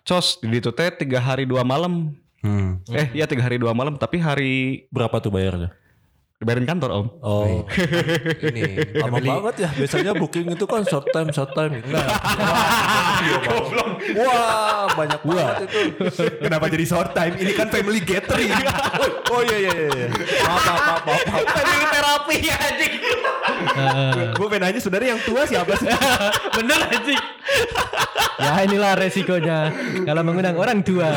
Speaker 2: Cos di ditu teh tiga hari dua malam.
Speaker 3: Hmm.
Speaker 2: Eh iya tiga hari dua malam tapi hari
Speaker 4: Berapa tuh bayarnya?
Speaker 2: dibayarin kantor om.
Speaker 4: Oh,
Speaker 3: <laughs> ini
Speaker 4: lama
Speaker 3: family-
Speaker 4: banget ya. Biasanya booking itu kan short time, short time. Nah, <laughs> Wah, banyak banget itu.
Speaker 3: Kenapa jadi short time? Ini kan family gathering.
Speaker 4: <laughs> Oh iya iya iya. Maaf maaf maaf. maaf.
Speaker 2: Tadi terapi ya anjing.
Speaker 3: Gue pengen nanya sebenarnya yang tua siapa sih?
Speaker 1: Ah. <laughs> Bener anjing. ya inilah resikonya kalau mengundang orang tua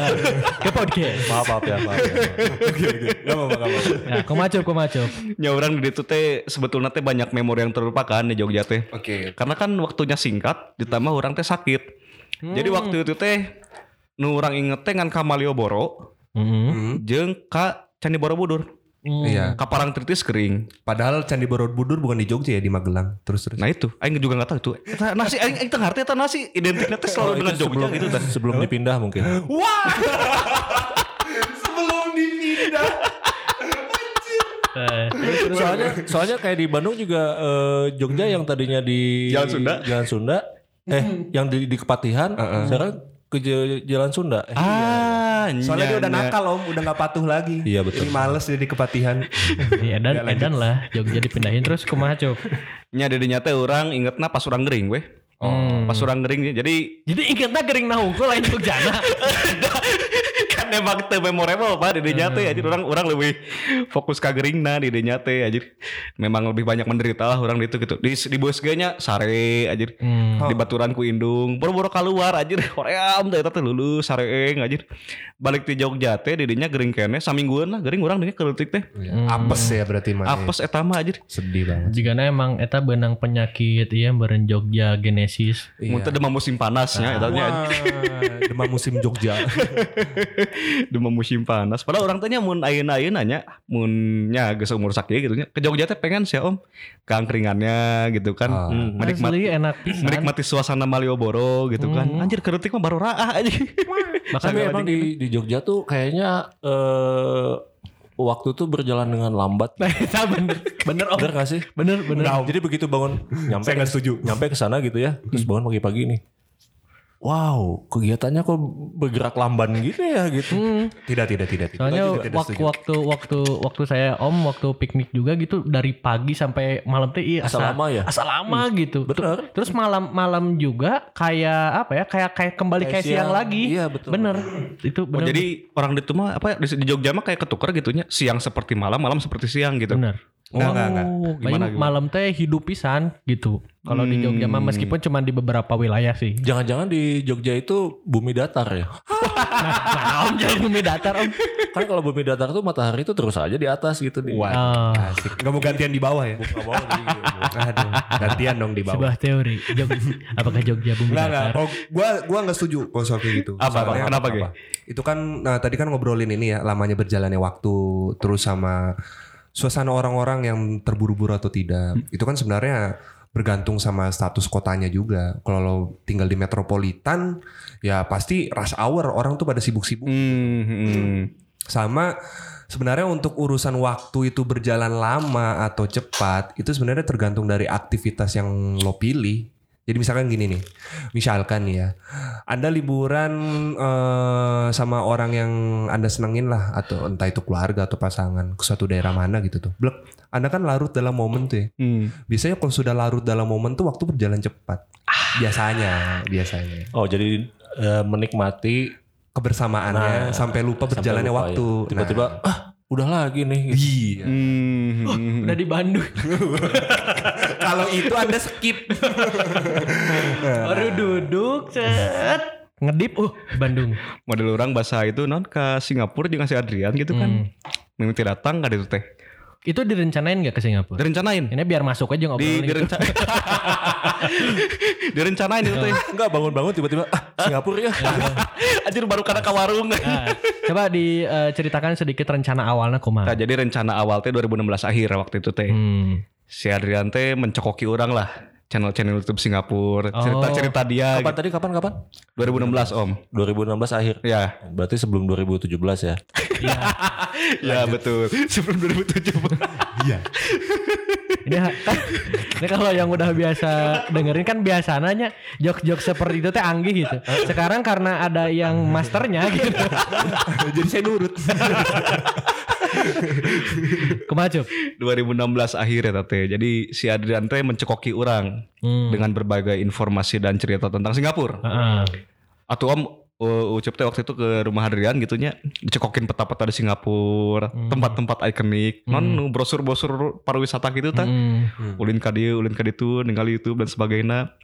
Speaker 1: ke podcast.
Speaker 4: Maaf maaf ya maaf. ya. Oke oke. Gak apa-apa gak apa-apa.
Speaker 1: Ya, komacup, komacup.
Speaker 2: Ya orang di ditu teh sebetulnya teh banyak memori yang terlupakan di Jogja teh.
Speaker 3: Oke.
Speaker 2: Karena kan waktunya singkat ditambah orang teh sakit. Jadi waktu itu teh nu orang inget teh ngan ka Malioboro
Speaker 1: Mm-mm.
Speaker 3: Hmm.
Speaker 2: jeung ka Candi Borobudur.
Speaker 3: Iya.
Speaker 2: Ka Parangtritis kering.
Speaker 3: Padahal Candi Borobudur bukan di Jogja ya di Magelang. Terus terus.
Speaker 2: Nah itu, aing juga nggak tahu itu. Eta nasi aing aing teu ngarti eta nasi identiknya teh selalu dengan Jogja gitu tah.
Speaker 4: Sebelum dipindah mungkin.
Speaker 3: Wah. Sebelum dipindah.
Speaker 1: Eh,
Speaker 4: soalnya soalnya kayak di Bandung juga eh, Jogja yang tadinya di
Speaker 2: Jalan Sunda.
Speaker 4: Jalan Sunda eh yang di, di Kepatihan sekarang ke J- Jalan Sunda eh,
Speaker 2: Ah,
Speaker 3: Soalnya dia udah
Speaker 2: nya-
Speaker 3: nakal om, udah nggak patuh lagi.
Speaker 4: Iya,
Speaker 3: Ini
Speaker 4: betul.
Speaker 3: males jadi kepatihan.
Speaker 1: ya, edan, edan lah. Jogja dipindahin terus komacup.
Speaker 2: Nya dedinya teh orang ingetna pas orang gering weh. Oh. Pas orang gering jadi
Speaker 1: Jadi ingetnya gering nahungkul lain nah. Jogjana.
Speaker 2: <laughs> kan emang teu memorable pak dedinya teh anjir orang orang lebih fokus ka geringna dedinya teh anjir. Memang lebih banyak menderita lah orang di itu gitu. Di di bos ge nya sare anjir.
Speaker 1: Hmm.
Speaker 2: Di baturan ku indung, boro-boro keluar anjir. <laughs> Hoream teh eta teh lulus sareeng anjir. Balik ti Jogja teh dedinya gering kene saminggueun lah gering urang dengnya keleutik teh.
Speaker 3: <laughs> Apes ya berarti mana?
Speaker 2: Apes eta mah anjir.
Speaker 3: Sedih banget.
Speaker 1: Jika nah, emang eta benang penyakit iya beren Jogja genesis.
Speaker 3: Iya. Ah.
Speaker 2: Muntah demam musim panasnya, eta nya
Speaker 3: Wah, demam musim
Speaker 2: <laughs>
Speaker 3: Jogja.
Speaker 2: demam musim panas. Padahal orang tanya mun ayeuna ayeuna nya mun nya geus umur sakit gitu nya. Ke Jogja teh pengen sih Om keangkringannya gitu kan.
Speaker 3: Ah.
Speaker 2: Hmm,
Speaker 1: Nah,
Speaker 2: menikmati
Speaker 1: Asli enak pisan.
Speaker 2: menikmati suasana Malioboro gitu kan.
Speaker 1: Hmm.
Speaker 2: Anjir keretik mah baru raah aja.
Speaker 1: Bahkan
Speaker 4: tapi emang di di Jogja tuh kayaknya eh, waktu tuh berjalan dengan lambat
Speaker 1: <laughs> Eta bener, bener om,
Speaker 4: bener gak sih Nah,
Speaker 1: bener bener.
Speaker 4: jadi begitu bangun nyampe
Speaker 3: Saya nggak setuju.
Speaker 4: nyampe ke sana gitu ya terus bangun pagi-pagi nih Wow, kegiatannya kok bergerak lamban gitu ya gitu.
Speaker 1: Hmm.
Speaker 3: Tidak tidak tidak. tidak.
Speaker 1: Soalnya
Speaker 3: Lanjut, tidak
Speaker 1: waktu,
Speaker 3: setuju.
Speaker 1: waktu waktu waktu saya om waktu piknik juga gitu dari pagi sampai malam teh iya
Speaker 4: Asal lama ya?
Speaker 1: asal lama gitu. Ter-
Speaker 4: bener.
Speaker 1: Terus malam malam juga kayak apa ya kayak kayak kembali kayak,
Speaker 4: Kayak
Speaker 1: siang,
Speaker 4: siang.
Speaker 1: lagi.
Speaker 4: Iya, betul.
Speaker 1: Bener itu
Speaker 2: Oh,
Speaker 1: bener.
Speaker 2: jadi orang di itu mah apa di, di Jogja mah kayak ketukar gitu nya. Siang seperti malam, malam seperti siang gitu.
Speaker 1: bener.
Speaker 3: Enggak, enggak, enggak.
Speaker 1: Oh,
Speaker 2: Gimana,
Speaker 1: paling
Speaker 2: gimana?
Speaker 1: malam teh hidup pisan gitu. Kalau di Jogja mah meskipun cuma di beberapa wilayah
Speaker 4: <laughs>
Speaker 1: sih.
Speaker 4: Jangan-jangan di Jogja itu bumi datar
Speaker 3: <laughs>
Speaker 4: ya?
Speaker 1: Nah, om jadi bumi datar om.
Speaker 4: kan kalau bumi datar tuh matahari tuh terus aja di atas gitu di
Speaker 2: Wah.
Speaker 1: Ah,
Speaker 3: Asik. Gak mau gantian di bawah
Speaker 2: <laughs>
Speaker 3: ya? Gak mau.
Speaker 4: gitu.
Speaker 3: Aduh, gantian dong di bawah.
Speaker 1: sebuah teori. Jog- <laughs> apakah Jogja bumi
Speaker 3: Enggak, enggak.
Speaker 1: datar?
Speaker 3: Kalau gua gua enggak setuju kalau soal kayak gitu.
Speaker 2: Apa, apa?
Speaker 3: Soalnya
Speaker 2: Kenapa, Ge?
Speaker 3: Itu kan nah tadi kan ngobrolin ini ya, lamanya berjalannya waktu terus sama suasana orang-orang yang terburu-buru atau tidak.
Speaker 2: Hmm.
Speaker 3: Itu kan sebenarnya bergantung sama status kotanya juga. Kalau lo tinggal di metropolitan, ya pasti rush hour orang tuh pada sibuk-sibuk.
Speaker 2: Hmm, hmm.
Speaker 3: Sama sebenarnya untuk urusan waktu itu berjalan lama atau cepat, itu sebenarnya tergantung dari aktivitas yang lo pilih. Jadi misalkan gini nih, misalkan nih ya, anda liburan eh, sama orang yang anda senengin lah, atau entah itu keluarga atau pasangan ke suatu daerah mana gitu tuh. Blek, anda kan larut dalam momen tuh. ya.
Speaker 2: hmm.
Speaker 3: Biasanya kalau sudah larut dalam momen tuh waktu berjalan cepat. Biasanya, biasanya
Speaker 4: oh jadi eh, menikmati
Speaker 3: kebersamaannya
Speaker 4: Nah,
Speaker 3: sampai lupa
Speaker 4: sampai
Speaker 3: berjalannya
Speaker 4: lupa
Speaker 3: waktu.
Speaker 4: ya. tiba-tiba
Speaker 3: Nah,
Speaker 4: ah udah lagi nih gitu.
Speaker 3: Iya.
Speaker 2: Hmm.
Speaker 1: Udah di Bandung.
Speaker 3: Kalau itu Anda skip.
Speaker 1: Baru duduk, cet. Ngedip, uh, Bandung.
Speaker 2: Model orang bahasa itu non ke Singapura juga si Adrian gitu kan.
Speaker 1: Hmm.
Speaker 2: Memang tidak datang kan itu teh.
Speaker 1: Itu direncanain gak ke Singapura?
Speaker 2: Direncanain.
Speaker 1: Ini biar masuk aja
Speaker 2: Di
Speaker 1: ngobrolin gitu.
Speaker 2: direnca <laughs> direncanain itu teh.
Speaker 4: <laughs> Enggak bangun-bangun tiba-tiba ah, Singapura ya.
Speaker 3: Iya.
Speaker 4: <laughs>
Speaker 2: Anjir baru karena ke warung.
Speaker 3: Ah,
Speaker 1: Nah, coba diceritakan sedikit rencana awalnya
Speaker 2: Nah,
Speaker 1: kumaha.
Speaker 2: jadi rencana awal teh 2016 akhir waktu itu teh.
Speaker 1: Hmm.
Speaker 2: Si Adrian teh mencokoki orang lah channel-channel YouTube Singapura,
Speaker 1: Oh.
Speaker 2: cerita-cerita dia
Speaker 4: Kapan tadi kapan kapan?
Speaker 2: gitu. 2016 Om.
Speaker 4: 2016 akhir.
Speaker 2: Ya,
Speaker 4: Berarti sebelum 2017 ya.
Speaker 2: ya betul. <laughs> Sebelum <laughs> 2017.
Speaker 1: Ini, ha- <laughs> kan, ini kalau yang udah biasa dengerin kan biasa nanya jok-jok seperti itu teh anggih gitu. Sekarang karena ada yang masternya gitu.
Speaker 3: Jadi saya nurut.
Speaker 1: Kemacup.
Speaker 2: 2016 akhir ya teh. Jadi si Adrian teh mencekoki orang
Speaker 1: Hmm.
Speaker 2: dengan berbagai informasi dan cerita tentang Singapura.
Speaker 1: Heeh.
Speaker 2: Atau Om uh, Ucup teh waktu itu ke rumah Adrian gitunya dicekokin peta-peta di Singapura,
Speaker 1: Hmm.
Speaker 2: tempat-tempat ikonik, non
Speaker 1: Hmm.
Speaker 2: nu brosur-brosur pariwisata gitu tah.
Speaker 1: Hmm.
Speaker 2: ulin ka dieu ulin ka ditu ningali YouTube dan sebagainya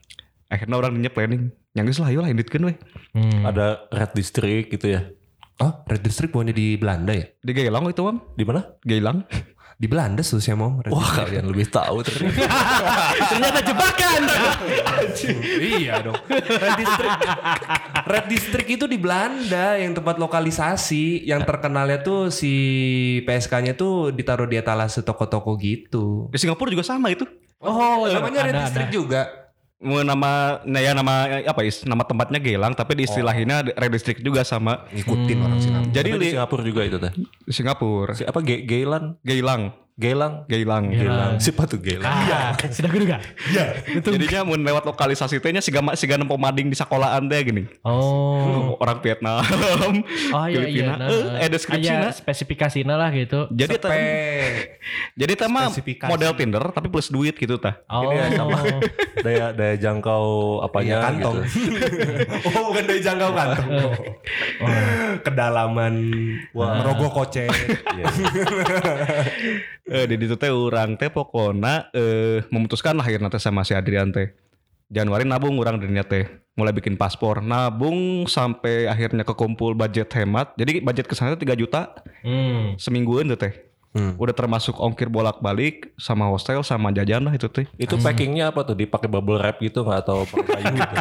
Speaker 2: akhirnya orang nya planning nyanggeus lah ayo lah inditkeun we
Speaker 1: Hmm.
Speaker 4: <laughs> Ada Red District gitu ya.
Speaker 3: Oh, Red District bukannya di Belanda ya?
Speaker 2: di Gailang itu om
Speaker 4: Di mana?
Speaker 2: Gailang
Speaker 3: Di Belanda sih saya mau. Red
Speaker 4: Wah, kalian lebih tahu ternyata.
Speaker 1: Ternyata jebakan.
Speaker 3: iya dong. Red District. Red District itu di Belanda yang tempat lokalisasi yang terkenalnya tuh si PSK-nya tuh ditaruh di etalase toko-toko gitu.
Speaker 2: <laughs> di Singapura juga sama itu
Speaker 3: Oh, namanya Red
Speaker 1: ada,
Speaker 3: District juga.
Speaker 2: Mau nama nah ya nama apa is nama tempatnya Gailang tapi
Speaker 1: Oh.
Speaker 2: diistilahinnya redistrict juga sama
Speaker 3: Ngikutin orang Singapura.
Speaker 2: jadi
Speaker 4: Tapi
Speaker 2: li,
Speaker 4: di Singapura juga itu teh.
Speaker 2: Singapura
Speaker 4: Si apa Ge- Geylan?
Speaker 2: Gailang
Speaker 4: Geylang.
Speaker 2: Gailang
Speaker 1: Iya.
Speaker 4: Geylang. Siapa tuh Geylang?
Speaker 1: Ah,
Speaker 2: Iya.
Speaker 1: sudah gitu kan?
Speaker 2: jadinya mun lewat lokalisasi teh nya siga ma- siga nempo mading di sekolahan teh gini
Speaker 1: Oh.
Speaker 2: orang Vietnam
Speaker 1: Oh iya iya.
Speaker 2: Filipina eh, eh deskripsina
Speaker 1: spesifikasinya lah gitu.
Speaker 3: Iya,
Speaker 2: jadi teh jadi teh mah
Speaker 3: Spesifikasi.
Speaker 2: model Tinder tapi plus duit gitu tah
Speaker 1: Oh.
Speaker 4: Ini ya sama daya daya jangkau apanya
Speaker 3: Iya, kantong.
Speaker 4: gitu.
Speaker 3: <laughs> oh, bukan dari jangkau kantong. <laughs>
Speaker 1: Oh.
Speaker 3: Kedalaman merogoh kocek.
Speaker 4: Iya.
Speaker 2: Eh, di ditu teh orang teh pokona eh, memutuskan lah akhirnya teh sama si Adrian teh. Januari nabung orang dirinya teh mulai bikin paspor nabung sampai akhirnya kekumpul budget hemat jadi budget kesana teh 3 juta
Speaker 1: Hmm.
Speaker 2: semingguan tuh teh
Speaker 3: Hmm.
Speaker 2: udah termasuk ongkir bolak balik sama hostel sama jajan lah itu teh
Speaker 4: <laughs> Itu packingnya apa tuh? Dipakai bubble wrap gitu nggak atau pakai kayu <laughs> gitu?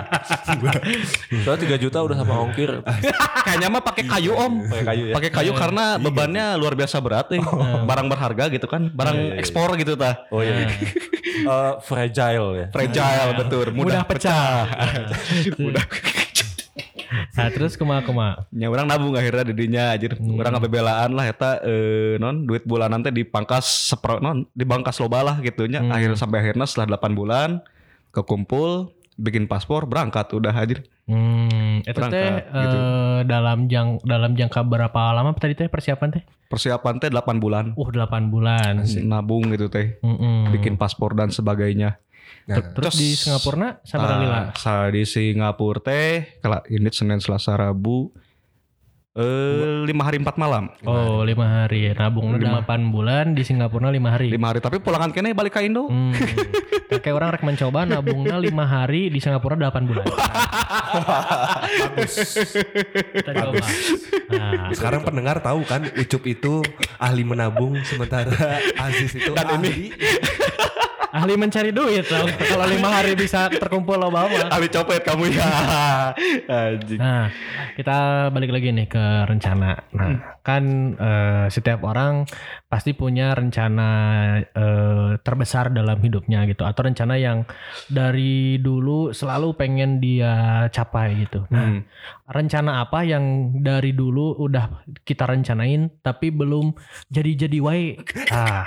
Speaker 4: Soalnya 3 juta udah sama ongkir.
Speaker 2: kayaknya mah pakai kayu om
Speaker 4: Pakai kayu ya.
Speaker 2: pakai kayu karena bebannya luar biasa berat nih barang berharga gitu kan barang ekspor gitu tah
Speaker 4: <laughs> Oh iya. Eh, fragile ya.
Speaker 2: fragile betul
Speaker 1: Mudah
Speaker 2: mudah,
Speaker 1: pecah.
Speaker 2: pecah. mudah
Speaker 1: Nah, terus kumaha kumaha?
Speaker 2: Ya orang nabung akhirnya didinya anjir. Orang ngebebelaan lah eta eh, non duit bulanan teh dipangkas sepro non dibangkas loba lah gitu nya. Akhir sampai akhirnya setelah 8 bulan kekumpul bikin paspor berangkat udah hadir
Speaker 1: Hmm, itu
Speaker 2: Berangkat,
Speaker 1: teh
Speaker 2: gitu.
Speaker 1: eh, dalam jang dalam jangka berapa lama tadi teh persiapan teh?
Speaker 2: persiapan teh 8 bulan
Speaker 1: Uh, 8 bulan.
Speaker 2: nabung gitu teh
Speaker 1: Mm-mm.
Speaker 2: bikin paspor dan sebagainya
Speaker 3: Nah.
Speaker 1: Ter- Terus
Speaker 2: Terus-
Speaker 1: di Singapura sama Dalila.
Speaker 2: Nah, sa- di Singapura teh kalau ini Senin Selasa Rabu eh 5 hari 4 malam
Speaker 1: Oh, 5 hari. Nabung 8 bulan di Singapura 5 hari.
Speaker 2: 5 hari tapi pulangan kene balik ke <laughs> Indo
Speaker 1: Iya. Hmm. Kayak orang rek mencoba nabungnya 5 hari di Singapura 8 bulan. Kita coba. Nah,
Speaker 4: gitu.
Speaker 3: Sekarang pendengar tahu kan Ucup itu ahli menabung sementara Aziz itu ahli
Speaker 1: Nah, ahli mencari duit loh. <laughs> Kalau 5 hari bisa terkumpul loba mah.
Speaker 2: Ali copet kamu ya <laughs> anjing
Speaker 1: Nah, kita balik lagi nih ke rencana. Nah, kan eh, setiap orang pasti punya rencana eh, terbesar dalam hidupnya gitu, atau rencana yang dari dulu selalu pengen dia capai gitu. Nah,
Speaker 2: Hmm.
Speaker 1: rencana apa yang dari dulu udah kita rencanain tapi belum jadi-jadi wae? Ah,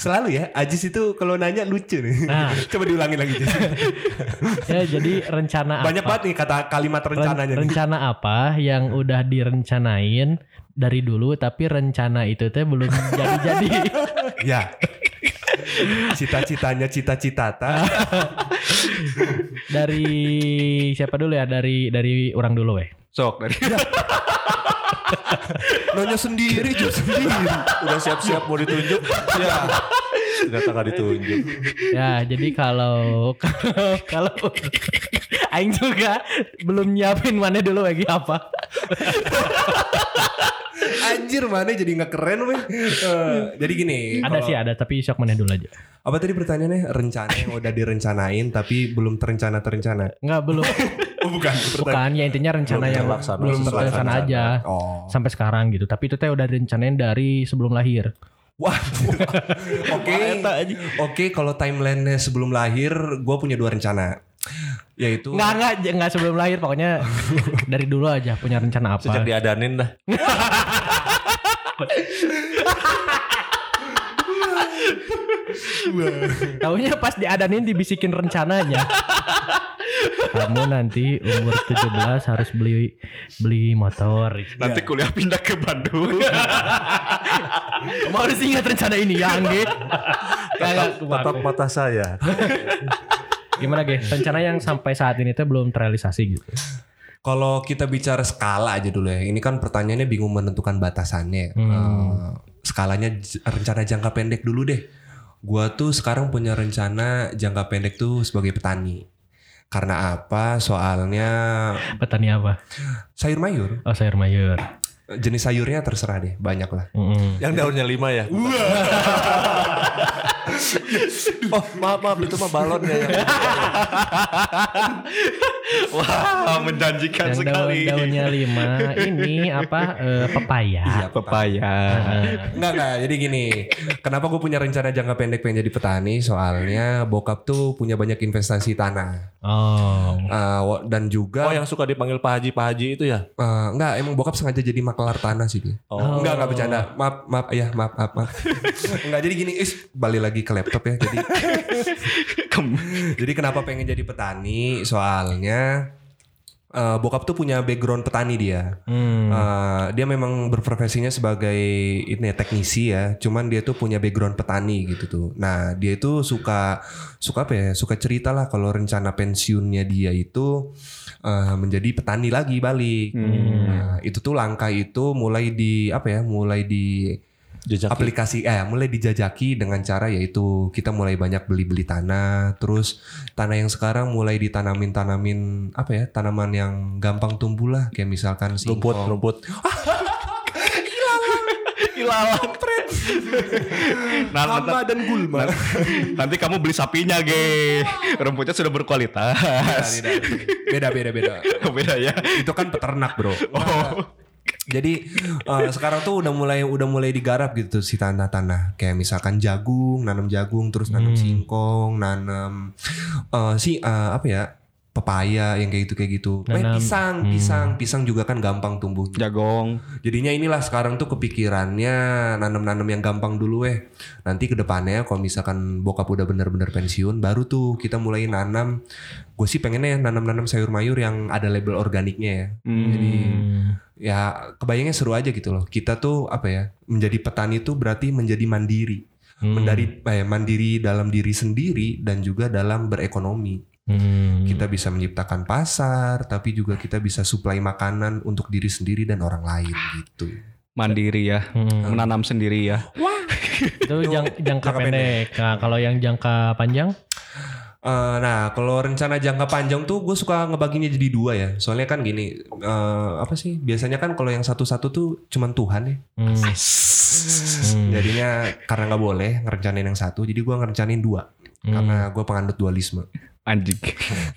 Speaker 3: Selalu ya, Ajis itu kalau nanya lucu nih.
Speaker 4: <laughs>
Speaker 1: Nah.
Speaker 3: Coba diulangi lagi. Jis.
Speaker 1: ya jadi rencana
Speaker 3: Banyak
Speaker 1: apa?
Speaker 3: banget nih kata kalimat
Speaker 1: Ren-
Speaker 3: rencananya. nih.
Speaker 1: rencana apa yang udah direncanain dari dulu tapi rencana itu teh belum jadi-jadi.
Speaker 3: ya. Cita-citanya cita-cita ta.
Speaker 1: dari Iya. siapa dulu ya? Dari dari orang dulu weh.
Speaker 2: Sok dari
Speaker 3: Nanya sendiri, jawab sendiri.
Speaker 4: Udah siap-siap mau ditunjuk. ya. Ternyata nggak ditunjuk.
Speaker 1: ya jadi kalau <laughs> kalau kalau Aing juga belum nyiapin mana dulu lagi apa
Speaker 3: Anjir mana jadi nggak keren weh. Eh, jadi gini.
Speaker 1: ada sih ada tapi shock mana dulu aja
Speaker 3: Apa tadi pertanyaannya? Rencana yang udah direncanain tapi belum terencana terencana.
Speaker 1: nggak belum
Speaker 3: Oh bukan.
Speaker 1: bukan ya intinya rencana
Speaker 4: Belum
Speaker 1: yang
Speaker 4: terlaksana.
Speaker 1: belum
Speaker 4: Belum
Speaker 1: terlaksana aja
Speaker 3: terlaksana. Oh.
Speaker 1: sampai sekarang gitu tapi itu teh udah direncanain dari sebelum lahir
Speaker 3: Wah. Oke. Oke kalau timelinenya sebelum lahir, gue punya dua rencana. Yaitu.
Speaker 1: nggak nggak j- nggak sebelum lahir
Speaker 4: <laughs>
Speaker 1: pokoknya dari dulu aja punya rencana
Speaker 4: Sejak
Speaker 1: apa
Speaker 4: diadanin dah.
Speaker 1: tahunya pas diadanin dibisikin
Speaker 4: <laughs>
Speaker 1: rencananya kamu nanti umur 17 harus beli beli motor
Speaker 2: Nanti kuliah pindah ke Bandung.
Speaker 1: Iya. kamu harus ingat rencana ini ya
Speaker 4: <laughs>
Speaker 1: Angge Nggak, nggak,
Speaker 4: Tetap mata saya.
Speaker 1: gimana ge rencana yang sampai saat ini tuh belum terrealisasi gitu
Speaker 3: Kalau kita bicara skala aja dulu ya, ini kan pertanyaannya bingung menentukan batasannya. Eh, skalanya j- rencana jangka pendek dulu deh. Gua tuh sekarang punya rencana jangka pendek tuh sebagai petani. Karena apa? Soalnya
Speaker 1: petani apa
Speaker 3: sayur mayur,
Speaker 1: oh sayur mayur
Speaker 3: jenis sayurnya terserah deh, banyak lah.
Speaker 1: Mm-mm.
Speaker 4: Yang daunnya lima ya. <laughs> oh maaf maaf itu mah balon ya.
Speaker 2: Wah, <laughs> menjanjikan
Speaker 1: yang
Speaker 2: sekali.
Speaker 1: daun-daunnya lima ini apa eh, pepaya
Speaker 2: Iya, Pepaya.
Speaker 1: Iya.
Speaker 3: Enggak enggak, jadi gini. Kenapa gue punya rencana jangka pendek pengen jadi petani? Soalnya bokap tuh punya banyak investasi tanah.
Speaker 1: oh
Speaker 3: Eh, wa- dan
Speaker 4: Oh
Speaker 3: juga
Speaker 4: yang suka dipanggil Pak Haji Pak Haji itu ya.
Speaker 3: eh, enggak, emang bokap sengaja jadi makelar tanah sih dia.
Speaker 1: Oh.
Speaker 3: Enggak, enggak bercanda. Maaf, maaf, ya, maaf, maaf, maaf. <laughs> enggak, jadi gini, is, balik lagi ke laptop ya. Jadi, jadi kenapa pengen jadi petani? Soalnya eh, bokap tuh punya background petani dia.
Speaker 1: Hmm.
Speaker 3: Eh, dia memang berprofesinya sebagai ini ya, teknisi ya. Cuman dia tuh punya background petani gitu tuh. Nah, dia itu suka suka apa ya? Suka cerita lah kalau rencana pensiunnya dia itu eh, menjadi petani lagi balik. Nah, itu tuh langkah itu mulai di apa ya? Mulai di
Speaker 4: Jejak
Speaker 3: aplikasi eh mulai dijajaki dengan cara yaitu kita mulai banyak beli-beli tanah, terus tanah yang sekarang mulai ditanamin-tanamin apa ya? Tanaman yang gampang tumbuh lah kayak misalkan singkong.
Speaker 4: rumput rumput.
Speaker 2: Ilalang
Speaker 1: <laughs>
Speaker 2: nah, nanti,
Speaker 3: Hama dan gulma.
Speaker 2: nanti kamu beli sapinya, ge.
Speaker 1: Iya.
Speaker 2: Rumputnya sudah berkualitas. <laughs>
Speaker 3: Beda beda beda.
Speaker 2: Beda
Speaker 1: Iya.
Speaker 2: ya. Oh.
Speaker 3: Itu kan peternak, Bro. Jadi eh, sekarang tuh udah mulai udah mulai digarap gitu si tanah-tanah kayak misalkan jagung, nanam jagung, terus nanam singkong, nanam eh, si eh, apa ya pepaya yang kayak gitu kayak gitu. Eh,
Speaker 1: Nanam-
Speaker 3: pisang, pisang, pisang juga kan gampang tumbuh.
Speaker 2: Jagong.
Speaker 3: Jadinya inilah sekarang tuh kepikirannya nanam-nanam yang gampang dulu eh. Nanti kedepannya kalau misalkan bokap udah bener-bener pensiun, baru tuh kita mulai nanam. Gue sih pengennya ya nanam-nanam sayur mayur yang ada label organiknya ya
Speaker 1: Hmm.
Speaker 3: ya kebayangnya seru aja gitu loh. Kita tuh apa ya menjadi petani itu berarti menjadi mandiri,
Speaker 1: Hmm.
Speaker 3: Mendari- eh, mandiri dalam diri sendiri dan juga dalam berekonomi.
Speaker 1: Hmm.
Speaker 3: Kita bisa menciptakan pasar, tapi juga kita bisa suplai makanan untuk diri sendiri dan orang lain gitu.
Speaker 2: Mandiri ya.
Speaker 1: Hmm.
Speaker 2: Menanam sendiri ya.
Speaker 1: itu jang- jangka
Speaker 3: jangka
Speaker 1: pendek. Nah, kalau yang jangka panjang,
Speaker 3: Eh, nah, kalau rencana jangka panjang tuh gue suka ngebaginya jadi dua ya. Soalnya kan gini, eh, apa sih? Biasanya kan kalau yang satu-satu tuh cuman Tuhan ya.
Speaker 1: hmm.
Speaker 2: Iya.
Speaker 1: Hmm.
Speaker 3: Iya. Jadinya karena nggak boleh ngerencanain yang satu, jadi gue ngerencanain dua.
Speaker 1: Hmm.
Speaker 3: Karena gue penganut dualisme.
Speaker 2: Anjing.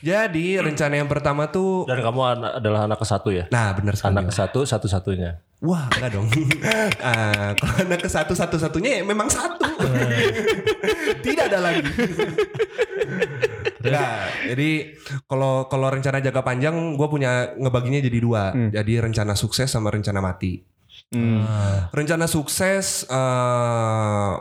Speaker 3: Jadi rencana yang pertama tuh
Speaker 4: Dan kamu ana- adalah anak ke satu ya.
Speaker 3: Nah bener sekali
Speaker 4: Anak ke satu satu satunya.
Speaker 3: Wah enggak dong <laughs> Ah, Kalau anak ke satu satu satunya ya memang satu Tidak ada lagi Nah jadi kalau kalau rencana jangka panjang gue punya ngebaginya jadi dua Jadi rencana sukses sama rencana mati
Speaker 2: Hmm.
Speaker 3: Rencana sukses eh,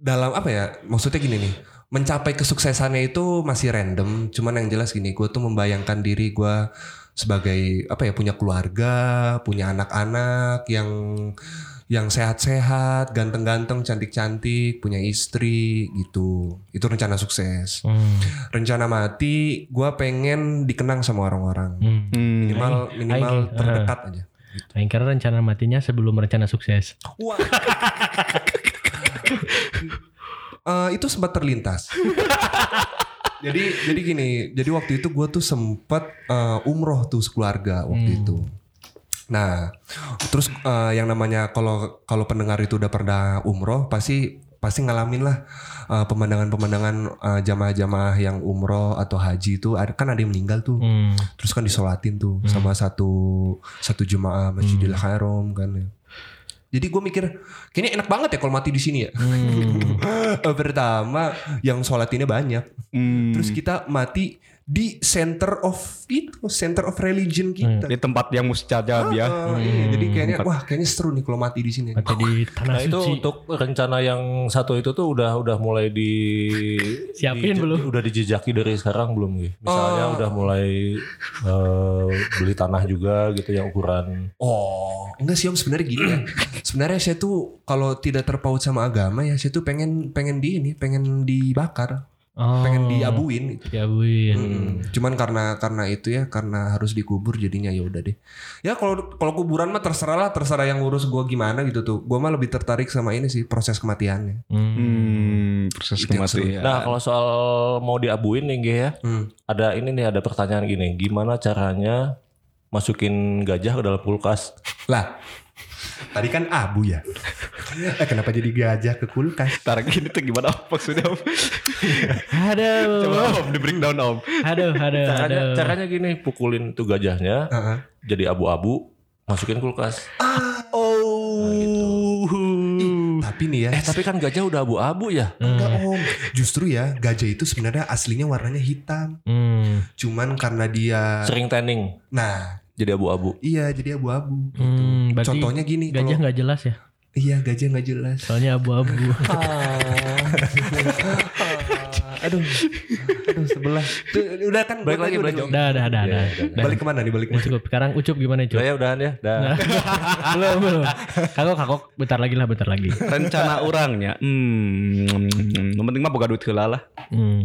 Speaker 3: dalam apa ya? Maksudnya gini nih, mencapai kesuksesannya itu masih random. Cuman yang jelas gini, gue tuh membayangkan diri gue sebagai apa ya punya keluarga, punya anak-anak yang yang sehat-sehat, ganteng-ganteng, cantik-cantik, punya istri gitu. Itu rencana sukses.
Speaker 1: Hmm.
Speaker 3: Rencana mati, gue pengen dikenang sama orang-orang.
Speaker 1: Hmm.
Speaker 2: Hmm.
Speaker 3: Minimal minimal
Speaker 1: Aing, eh.
Speaker 3: terdekat aja.
Speaker 1: Aing kira rencana matinya sebelum rencana sukses.
Speaker 3: Wah. Eh, itu sempat terlintas. jadi jadi gini, jadi waktu itu gue tuh sempat eh, umroh tuh sekeluarga waktu itu. Nah, terus eh, yang namanya kalau kalau pendengar itu udah pernah umroh pasti pasti ngalamin lah eh, pemandangan-pemandangan eh, jamaah-jamaah yang umroh atau haji itu ada kan ada yang meninggal tuh
Speaker 1: Hmm.
Speaker 3: terus kan disolatin tuh sama satu satu jemaah masjidil haram kan ya. jadi gue mikir kayaknya enak banget ya kalau mati di sini ya <laughs> Eh, pertama yang sholatinnya banyak
Speaker 2: Hmm,
Speaker 3: terus kita mati di center of itu center of religion kita
Speaker 2: di tempat yang mustajab ya.
Speaker 3: Ah, iya. jadi kayaknya wah kayaknya seru nih kalau mati di sini
Speaker 1: Mati di tanah
Speaker 4: Nah itu
Speaker 1: suci.
Speaker 4: untuk rencana yang satu itu tuh udah udah mulai di
Speaker 1: Siapin
Speaker 4: di-
Speaker 1: belum?
Speaker 4: Udah dijejaki dari sekarang belum gitu. Misalnya udah mulai eh, beli tanah juga gitu yang ukuran.
Speaker 3: Oh, enggak sih Om sebenarnya gini ya. sebenarnya saya tuh kalau tidak terpaut sama agama ya saya tuh pengen pengen di ini, pengen dibakar,
Speaker 1: Oh,
Speaker 3: pengen diabuin
Speaker 1: diabuin.
Speaker 3: Hmm, Cuman karena karena itu ya karena harus dikubur jadinya ya udah deh. Ya kalau kalau kuburan mah terserah lah terserah yang ngurus gua gimana gitu tuh. Gua mah lebih tertarik sama ini sih proses kematiannya.
Speaker 1: Hmm.
Speaker 2: Hmm, proses
Speaker 3: Itu yang
Speaker 2: kematian.
Speaker 4: Nah kalau soal mau diabuin nih Ge, ya,
Speaker 3: Hmm.
Speaker 4: ada ini nih ada pertanyaan gini, gimana caranya masukin gajah ke dalam kulkas?
Speaker 3: Lah. Tadi kan abu ya. Eh, kenapa jadi gajah ke kulkas?
Speaker 2: Ntar gini tuh gimana Om? maksudnya Om?
Speaker 1: Aduh.
Speaker 2: Coba Om di breakdown Om.
Speaker 1: Aduh, aduh,
Speaker 4: Caranya,
Speaker 1: aduh.
Speaker 4: caranya gini, pukulin tuh gajahnya,
Speaker 3: Heeh.
Speaker 4: jadi abu-abu, masukin kulkas.
Speaker 2: Oh.
Speaker 3: Tapi nih ya. Hmm.
Speaker 4: Eh tapi kan gajah udah abu-abu ya?
Speaker 1: Hmm.
Speaker 3: Enggak om, justru ya gajah itu sebenarnya aslinya warnanya hitam.
Speaker 1: Hmm.
Speaker 3: Cuman karena dia,
Speaker 4: Sering tanning,
Speaker 3: nah
Speaker 4: jadi abu-abu.
Speaker 3: iya jadi abu-abu. gitu.
Speaker 1: Hmm, berarti
Speaker 3: Contohnya gini,
Speaker 1: gajah
Speaker 3: kalau-
Speaker 1: nggak Oh, jelas ya?
Speaker 3: iya gajah nggak jelas.
Speaker 1: Soalnya abu-abu.
Speaker 3: Ah. aduh, aduh sebelah. Tuh, udah kan,
Speaker 4: Balik
Speaker 3: gua
Speaker 4: lagi,
Speaker 3: tadi
Speaker 4: balik
Speaker 3: udah
Speaker 1: Dah, dah, dah,
Speaker 4: Iya,
Speaker 1: dah.
Speaker 4: iya,
Speaker 3: jawab.
Speaker 1: Dah.
Speaker 3: Balik kemana nih? Balik
Speaker 1: Udah
Speaker 3: kemana?
Speaker 1: cukup. Sekarang ucup gimana
Speaker 4: Udah
Speaker 1: cup?
Speaker 4: ya udahan ya. Dah.
Speaker 1: Nah, <laughs> belum, belum. Kagok, kagok. Bentar lagi lah, bentar lagi.
Speaker 2: Rencana orangnya. Hmm, yang penting mah boga duit heula lah.
Speaker 1: Hmm.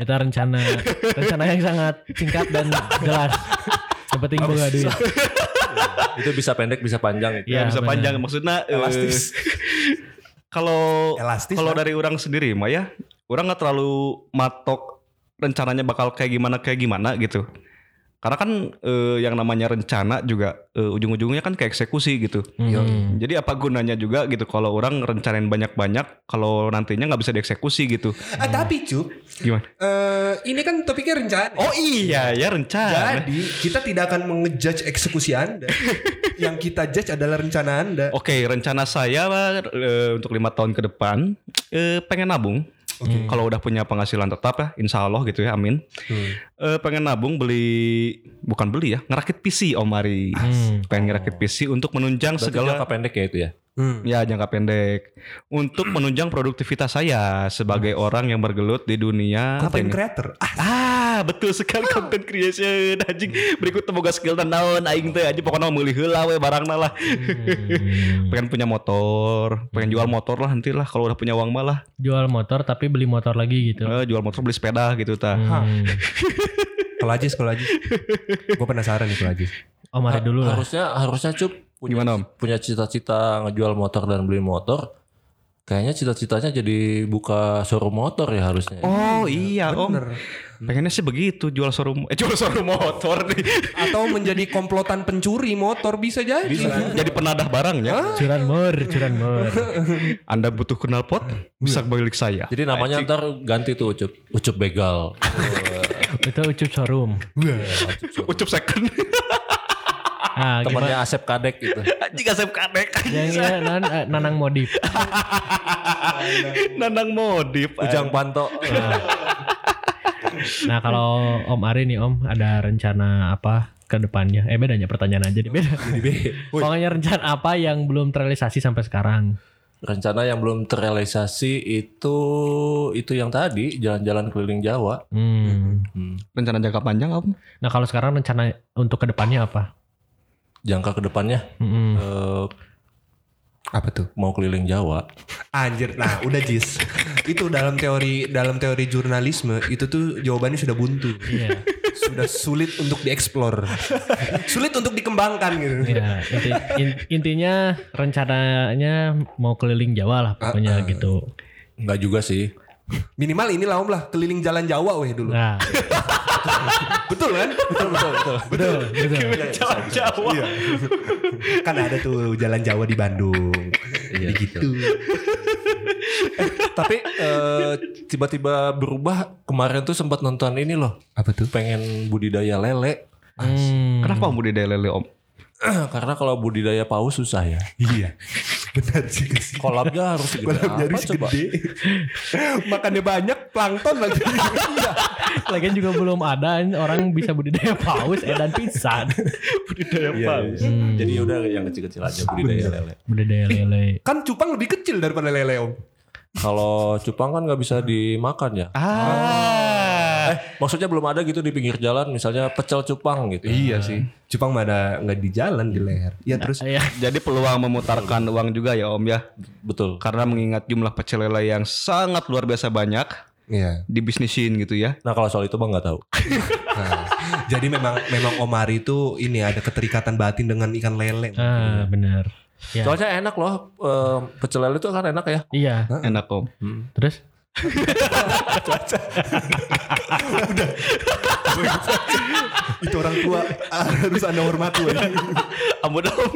Speaker 1: Eta rencana rencana yang sangat singkat dan jelas. Yang penting boga duit.
Speaker 4: Itu bisa pendek bisa panjang.
Speaker 1: Iya,
Speaker 2: Ya, bisa
Speaker 1: bener.
Speaker 2: panjang maksudnya eh,
Speaker 3: Elastis.
Speaker 2: Kalau
Speaker 3: Elastis,
Speaker 2: kalau
Speaker 3: lah.
Speaker 2: dari orang sendiri mah ya, orang nggak terlalu matok rencananya bakal kayak gimana kayak gimana gitu. Karena kan eh, yang namanya rencana juga eh, ujung-ujungnya kan ke eksekusi gitu.
Speaker 1: Hmm.
Speaker 2: Jadi apa gunanya juga gitu kalau orang rencanain banyak-banyak kalau nantinya nggak bisa dieksekusi gitu.
Speaker 3: Ah, tapi cup,
Speaker 2: Gimana?
Speaker 3: eh, ini kan topiknya rencana.
Speaker 2: Oh iya ya rencana.
Speaker 3: Jadi kita tidak akan mengejudge eksekusi
Speaker 2: <laughs>
Speaker 3: anda. Yang kita judge adalah rencana anda.
Speaker 2: Oke, rencana saya eh, untuk lima tahun ke depan eh, pengen nabung. Kalau udah punya penghasilan tetap ya, insya Allah gitu ya, amin.
Speaker 3: Hmm.
Speaker 2: Eh, pengen nabung beli, bukan beli ya, ngerakit PC Om Ari.
Speaker 1: Hmm.
Speaker 2: Pengen ngerakit PC untuk menunjang
Speaker 4: Berarti
Speaker 2: segala
Speaker 4: jangka pendek ya itu ya.
Speaker 3: Hmm.
Speaker 2: Ya jangka pendek untuk menunjang produktivitas saya sebagai orang yang bergelut di dunia apa
Speaker 3: Content
Speaker 2: ini?
Speaker 3: creator. Ah,
Speaker 2: Ah, betul sekali content creation anjing. Berikut temoga skill dan naon aing teh anjing pokoknya meuli heula we barangna lah.
Speaker 1: Hmm.
Speaker 2: pengen punya motor, pengen jual motor lah nanti lah kalau udah punya uang malah.
Speaker 1: Jual motor tapi beli motor lagi gitu.
Speaker 2: Eh, jual motor beli sepeda gitu ta.
Speaker 1: Hmm.
Speaker 3: Kalau Ajis, kalau Ajis. Gue penasaran nih kalau Ajis.
Speaker 1: Oh, mari dulu lah.
Speaker 4: Harusnya harusnya cup punya
Speaker 2: Gimana, Om?
Speaker 4: punya cita-cita ngejual motor dan beli motor. Kayaknya cita-citanya jadi buka showroom motor ya harusnya.
Speaker 2: Oh iya om,
Speaker 3: Bener.
Speaker 2: pengennya sih begitu jual showroom, eh jual showroom motor nih.
Speaker 3: Atau menjadi komplotan pencuri motor bisa jadi.
Speaker 2: Jadi penadah barangnya.
Speaker 1: Curanmor, curanmor.
Speaker 2: Anda butuh knalpot, bisa balik saya.
Speaker 4: Jadi namanya ntar ganti tuh Ucup, Ucup <laughs> Begal.
Speaker 1: Itu ucup showroom.
Speaker 2: Ucup second. <laughs>
Speaker 1: Ah, gimana?
Speaker 4: Temannya Asep Kadek gitu.
Speaker 2: Jika saya kadek
Speaker 1: Yang ini, nan, eh, nanang modif.
Speaker 2: Nandang modif.
Speaker 4: <laughs> Ujang Panto.
Speaker 1: Nah kalau Om Ari nih Om ada rencana apa ke depannya? Eh bedanya pertanyaan aja deh beda. Pokoknya rencana apa yang belum terrealisasi sampai sekarang?
Speaker 4: Rencana yang belum terrealisasi itu itu yang tadi jalan-jalan keliling Jawa.
Speaker 1: Hmm.
Speaker 2: Rencana jangka panjang om?
Speaker 1: Nah kalau sekarang rencana untuk kedepannya apa?
Speaker 4: Jangka kedepannya
Speaker 1: Mm-mm.
Speaker 4: eh,
Speaker 3: Apa tuh?
Speaker 4: mau keliling Jawa.
Speaker 3: Anjir, nah udah Jis. itu dalam teori dalam teori jurnalisme itu tuh jawabannya sudah buntu.
Speaker 1: Iya.
Speaker 3: sudah sulit untuk dieksplor, sulit untuk dikembangkan gitu.
Speaker 1: Ya, inti- in- intinya rencananya mau keliling Jawa lah pokoknya gitu.
Speaker 4: Enggak juga sih.
Speaker 3: Minimal ini lah om lah keliling jalan Jawa weh dulu.
Speaker 1: Nah,
Speaker 3: Betul kan? Betul betul betul. Iya.
Speaker 1: betul, betul.
Speaker 2: Jawa Jawa.
Speaker 3: kan ada tuh jalan Jawa di Bandung. Jadi gitu.
Speaker 4: Tapi eh, tiba-tiba berubah kemarin tuh sempat nonton ini loh.
Speaker 3: Apa tuh?
Speaker 4: Pengen budidaya lele. <clears throat>
Speaker 1: Hmm,
Speaker 2: Kenapa om budidaya lele om?
Speaker 4: Karena kalau budidaya paus susah ya.
Speaker 3: Iya. Benar juga sih.
Speaker 4: Kolabnya harus segede
Speaker 3: Kolamnya harus
Speaker 4: coba?
Speaker 3: gede. Makannya banyak, plankton lagi. Iya.
Speaker 1: lagian juga belum ada orang bisa budidaya paus eh, dan pisan.
Speaker 2: Budidaya
Speaker 4: Iya, iya.
Speaker 3: Hmm.
Speaker 4: Jadi udah yang kecil-kecil aja budidaya lele.
Speaker 1: Budidaya lele.
Speaker 3: kan cupang lebih kecil daripada lele om.
Speaker 4: Kalau cupang kan nggak bisa dimakan ya.
Speaker 2: Ah.
Speaker 4: Eh, maksudnya belum ada gitu di pinggir jalan misalnya pecel cupang gitu.
Speaker 3: Iya sih. Cupang mah ada nggak di jalan di leher. Iya terus.
Speaker 1: Iya.
Speaker 2: Jadi peluang memutarkan uang juga ya om ya.
Speaker 4: Betul.
Speaker 2: Karena mengingat jumlah pecel lele yang sangat luar biasa banyak
Speaker 3: Iya.
Speaker 2: dibisnisin gitu ya.
Speaker 4: Nah kalau soal itu bang nggak tahu.
Speaker 3: Nah, jadi memang memang Omari itu ini ada keterikatan batin dengan ikan lele.
Speaker 1: Ah, benar. Ya.
Speaker 3: Iya.
Speaker 4: Soalnya enak loh eh, pecel lele itu kan enak ya.
Speaker 1: Iya.
Speaker 2: Enak om.
Speaker 1: Terus
Speaker 3: itu orang tua ah, harus anda hormati. ya.
Speaker 2: Ampun om.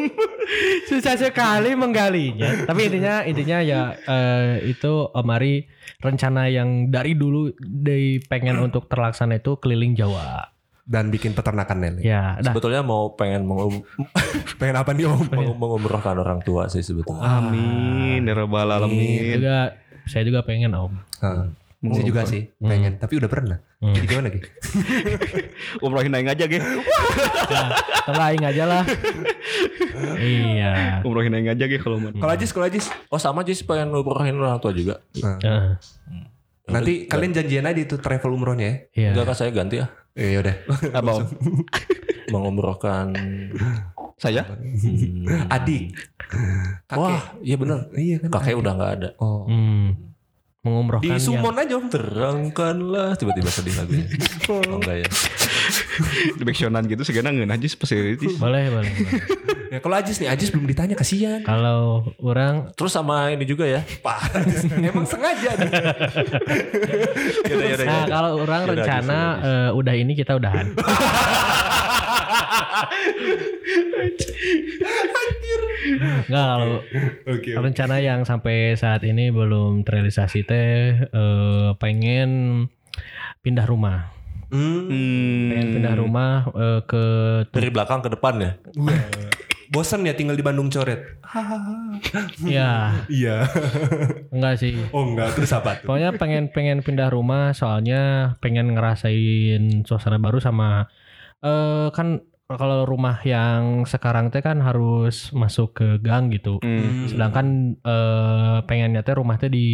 Speaker 1: susah sekali menggalinya. Tapi intinya intinya ya eh, itu Om Ari rencana yang dari dulu dari pengen untuk terlaksana itu keliling Jawa.
Speaker 3: Dan bikin peternakan lele.
Speaker 1: Ya, dah.
Speaker 4: Sebetulnya mau pengen mengum-
Speaker 3: Iya. Pengen apa nih om?
Speaker 4: mengum- mengumrohkan orang tua sih sebetulnya.
Speaker 2: Amin. Ya Rabbal Alamin.
Speaker 1: Juga saya juga pengen Om.
Speaker 3: Nah, saya juga sih pengen, tapi udah pernah.
Speaker 1: Gitu.
Speaker 3: Jadi gimana Ki?
Speaker 1: kan-
Speaker 2: Umrohin aing aja ge.
Speaker 1: Telaing aja lah. iya.
Speaker 2: Umrohin aing aja ge
Speaker 1: <laughs>
Speaker 2: kalau mau.
Speaker 3: Kalau Ajis, kalau Ajis,
Speaker 4: Oh sama aja sih pengen ngumrohin orang tua juga.
Speaker 1: Eh,
Speaker 3: nanti kalian janjian aja itu travel umrohnya ya.
Speaker 1: iya.
Speaker 4: Enggak kan saya ganti ya.
Speaker 3: Iya udah.
Speaker 2: Apa om?
Speaker 4: Mengumrohkan.
Speaker 2: Saya?
Speaker 4: Hmm.
Speaker 3: <laughs> Adik. Kakek.
Speaker 4: Wah iya bener.
Speaker 3: Iya kan.
Speaker 4: Kakek udah nggak ada.
Speaker 3: Oh.
Speaker 1: Hmm.
Speaker 3: Di
Speaker 1: Mengumrohkan ya. yang
Speaker 3: summon aja om.
Speaker 4: Terangkanlah tiba-tiba sedih lagunya. Oh enggak ya.
Speaker 2: Di backsonan gitu segana ngeun aja spesialis.
Speaker 1: boleh boleh. boleh.
Speaker 3: Ya, kalau Ajis nih, Ajis belum ditanya kasihan.
Speaker 1: Kalau orang
Speaker 4: Terus sama ini juga ya.
Speaker 3: Pak, Ajis, emang sengaja nih.
Speaker 4: Yaudah, yaudah,
Speaker 1: Nah,
Speaker 4: yaudah.
Speaker 1: kalau orang
Speaker 4: Iya, Yaudah,
Speaker 1: rencana
Speaker 4: Ajis, yaudah,
Speaker 1: eh, udah ini kita udahan. Enggak kalau
Speaker 3: <laughs> Oke.
Speaker 1: rencana yang sampai saat ini belum terrealisasi teh eh, pengen pindah rumah.
Speaker 3: Hmm.
Speaker 1: Pengen
Speaker 2: Hmm.
Speaker 1: pindah rumah eh, ke
Speaker 4: Dari belakang ke depan ya.
Speaker 3: Bosan ya tinggal di Bandung coret.
Speaker 4: <laughs>
Speaker 1: ya
Speaker 3: Iya. <laughs>
Speaker 1: enggak sih.
Speaker 3: Oh enggak, terus apa tuh?
Speaker 1: Pokoknya pengen pengen pindah rumah soalnya pengen ngerasain suasana baru sama eh kan kalau rumah yang sekarang teh kan harus masuk ke gang gitu.
Speaker 2: Hmm.
Speaker 1: Sedangkan eh, pengennya teh rumah teh di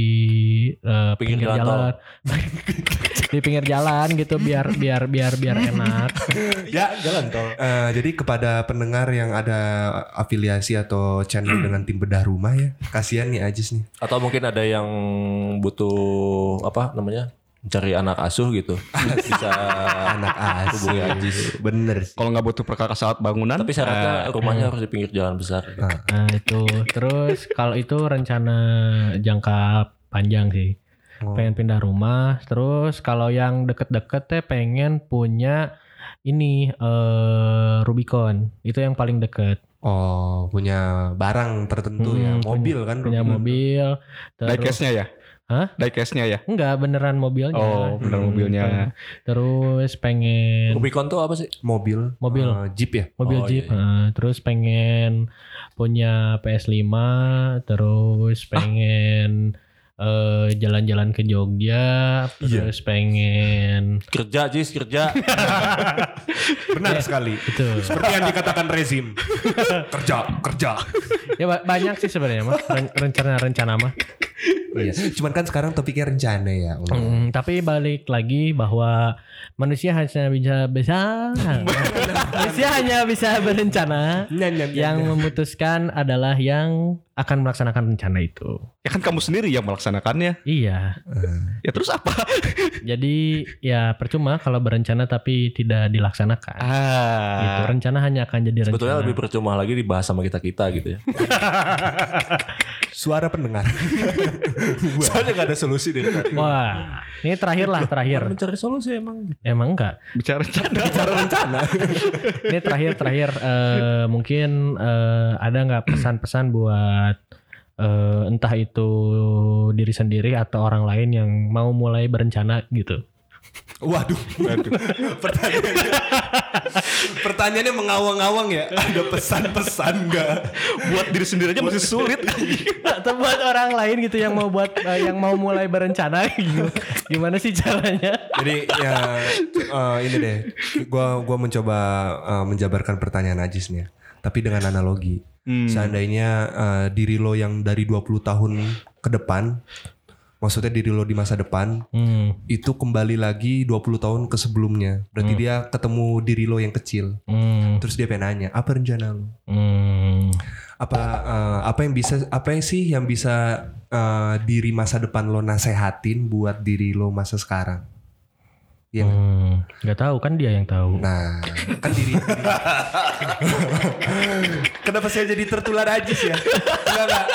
Speaker 1: eh,
Speaker 4: Pinggir
Speaker 1: pinggir,
Speaker 4: jalan
Speaker 1: jalan. <laughs> di pinggir jalan gitu biar biar biar biar enak.
Speaker 3: ya jalan tol. jadi kepada pendengar yang ada afiliasi atau channel dengan tim bedah rumah ya, kasihan nih Ajis <laughs> nih.
Speaker 4: Atau mungkin ada yang butuh apa namanya? Cari anak asuh gitu. Bisa
Speaker 3: Anak Oh, as.
Speaker 4: hubungi Ajis.
Speaker 3: Bener sih.
Speaker 2: Kalau nggak butuh perkara saat bangunan. eh,
Speaker 4: Tapi syaratnya
Speaker 2: Ah,
Speaker 4: rumahnya harus di pinggir jalan besar.
Speaker 1: Nah, itu. Terus kalau itu rencana jangka panjang sih.
Speaker 3: Oh.
Speaker 1: Pengen pindah rumah, terus kalau yang deket-deket teh pengen punya ini eh, Rubicon. Itu yang paling deket.
Speaker 3: Oh, punya barang tertentu
Speaker 1: Hmm,
Speaker 3: ya,
Speaker 1: punya-
Speaker 3: mobil kan.
Speaker 1: Punya
Speaker 3: Rubicon.
Speaker 1: mobil. Terus
Speaker 2: diecast-nya ya?
Speaker 1: Hah?
Speaker 2: Diecast-nya ya?
Speaker 1: enggak beneran mobilnya.
Speaker 2: Oh, beneran
Speaker 1: Hmm,
Speaker 2: mobilnya.
Speaker 1: Terus pengen
Speaker 4: Rubicon tuh apa sih?
Speaker 3: Mobil.
Speaker 1: Mobil.
Speaker 3: eh, Jeep ya.
Speaker 1: mobil
Speaker 4: Oh,
Speaker 1: Jeep,
Speaker 4: iya,
Speaker 1: eh, terus pengen punya PS5, terus pengen eh, jalan-jalan ke Jogja, terus pengen
Speaker 4: Kerja Jis, kerja.
Speaker 3: Benar
Speaker 1: Iya.
Speaker 3: sekali.
Speaker 1: itu.
Speaker 3: Seperti yang dikatakan <laughs> rezim. kerja, kerja.
Speaker 1: ya ba- banyak sih sebenarnya mah ren- rencana-rencana mah.
Speaker 3: Iya. Cuman kan sekarang topiknya rencana ya. Om.
Speaker 4: Gitu.
Speaker 1: Mm, tapi balik lagi bahwa manusia hanya bisa bisa manusia hanya bisa berencana.
Speaker 3: Nyan, nyan, nyan,
Speaker 1: Yang
Speaker 3: nyan.
Speaker 1: memutuskan adalah yang akan melaksanakan rencana itu.
Speaker 2: Ya kan kamu sendiri yang melaksanakannya.
Speaker 1: Iya.
Speaker 2: Ya terus apa?
Speaker 1: Jadi ya percuma kalau berencana tapi tidak dilaksanakan. Gitu.
Speaker 2: Ah.
Speaker 1: Rencana hanya akan jadi rencana.
Speaker 4: Sebetulnya lebih percuma lagi dibahas sama kita-kita gitu ya.
Speaker 3: Suara
Speaker 2: <laughs>
Speaker 3: pendengar.
Speaker 4: Soalnya gak ada solusi dari tadi.
Speaker 1: Wah, ini terakhir lah terakhir.
Speaker 4: Mencari solusi emang.
Speaker 1: Emang enggak.
Speaker 2: <laughs> Bicara rencana.
Speaker 1: Ini terakhir terakhir eh, mungkin eh, ada nggak pesan-pesan buat eh, entah itu diri sendiri atau orang lain yang mau mulai berencana gitu.
Speaker 3: Waduh. Pertanyaannya, pertanyaannya mengawang-awang ya. Ada pesan-pesan nggak?
Speaker 2: Buat diri sendiri aja masih sulit.
Speaker 1: Atau buat orang lain gitu yang mau buat eh, yang mau mulai berencana <laughs> gitu. Gimana sih caranya?
Speaker 3: Jadi ya eh, ini deh. Gua gua mencoba eh, menjabarkan pertanyaan Ajis nih. ya. Tapi dengan analogi.
Speaker 2: Hmm.
Speaker 3: Seandainya eh, diri lo yang dari 20 tahun ke depan Maksudnya diri lo di masa depan
Speaker 1: Hmm,
Speaker 3: itu kembali lagi 20 tahun ke sebelumnya. Berarti dia ketemu diri lo yang kecil.
Speaker 1: hmm,
Speaker 3: Terus dia pengen nanya, apa rencana lo?
Speaker 1: hmm.
Speaker 3: Apa eh, apa yang bisa apa yang sih yang bisa eh, diri masa depan lo nasehatin buat diri lo masa sekarang? Iya. nggak?
Speaker 1: Hmm, nggak tahu kan dia yang tahu.
Speaker 3: Nah, kan diri. Kenapa saya jadi tertular ajis ya? Enggak enggak.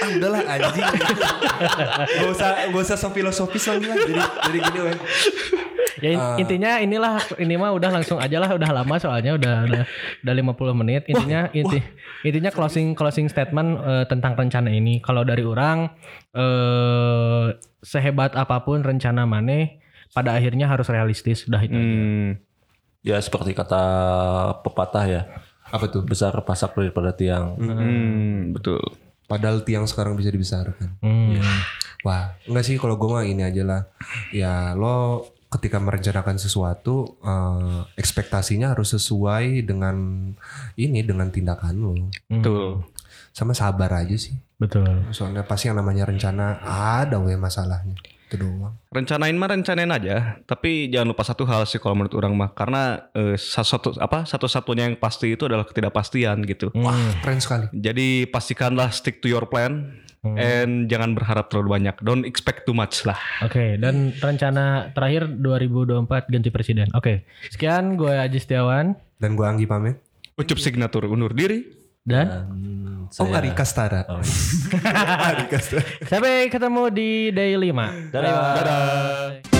Speaker 3: Ah, udahlah anjing. gak usah gak usah so filosofis lagi lah. Jadi jadi gini weh.
Speaker 1: Ya
Speaker 4: Ah.
Speaker 1: in- intinya inilah ini mah udah langsung aja lah udah lama soalnya udah udah, udah 50 menit. Intinya inti intinya closing closing statement eh, tentang rencana ini. Kalau dari orang eh sehebat apapun rencana maneh pada akhirnya harus realistis udah itu.
Speaker 4: Ya seperti kata pepatah ya.
Speaker 3: Apa tuh?
Speaker 4: Besar pasak daripada tiang.
Speaker 2: Hmm, betul.
Speaker 3: Padahal tiang sekarang bisa dibesarkan.
Speaker 1: Hmm.
Speaker 4: Iya.
Speaker 3: Wah, enggak sih kalau gue mah ini aja lah. Ya lo ketika merencanakan sesuatu, eh, ekspektasinya harus sesuai dengan ini dengan tindakan lo.
Speaker 1: Hmm.
Speaker 2: Betul.
Speaker 3: Sama sabar aja sih.
Speaker 1: Betul.
Speaker 3: Soalnya pasti yang namanya rencana ada we masalahnya. Itu doang.
Speaker 2: Rencanain mah rencanain aja, tapi jangan lupa satu hal sih kalau menurut orang mah karena eh, satu apa satu-satunya yang pasti itu adalah ketidakpastian gitu.
Speaker 1: Hmm.
Speaker 3: Keren sekali.
Speaker 2: Jadi pastikanlah stick to your plan and jangan berharap terlalu banyak. Don't expect too much lah.
Speaker 1: Oke, dan rencana terakhir 2024 ganti presiden. Oke. Sekian gue Aji Setiawan
Speaker 3: Dan gue Anggi pamit.
Speaker 2: Ucup signatur undur diri.
Speaker 1: dan
Speaker 4: Iya. Dan
Speaker 3: Oh,
Speaker 4: saya-
Speaker 3: Arika Stara.
Speaker 4: Oh.
Speaker 3: Arika Stara.
Speaker 1: sampai ketemu di day 5.
Speaker 4: Dadah.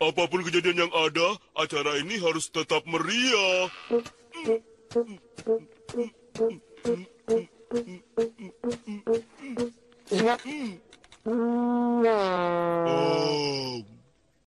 Speaker 5: Apapun kejadian yang ada, acara ini harus tetap meriah. Oh.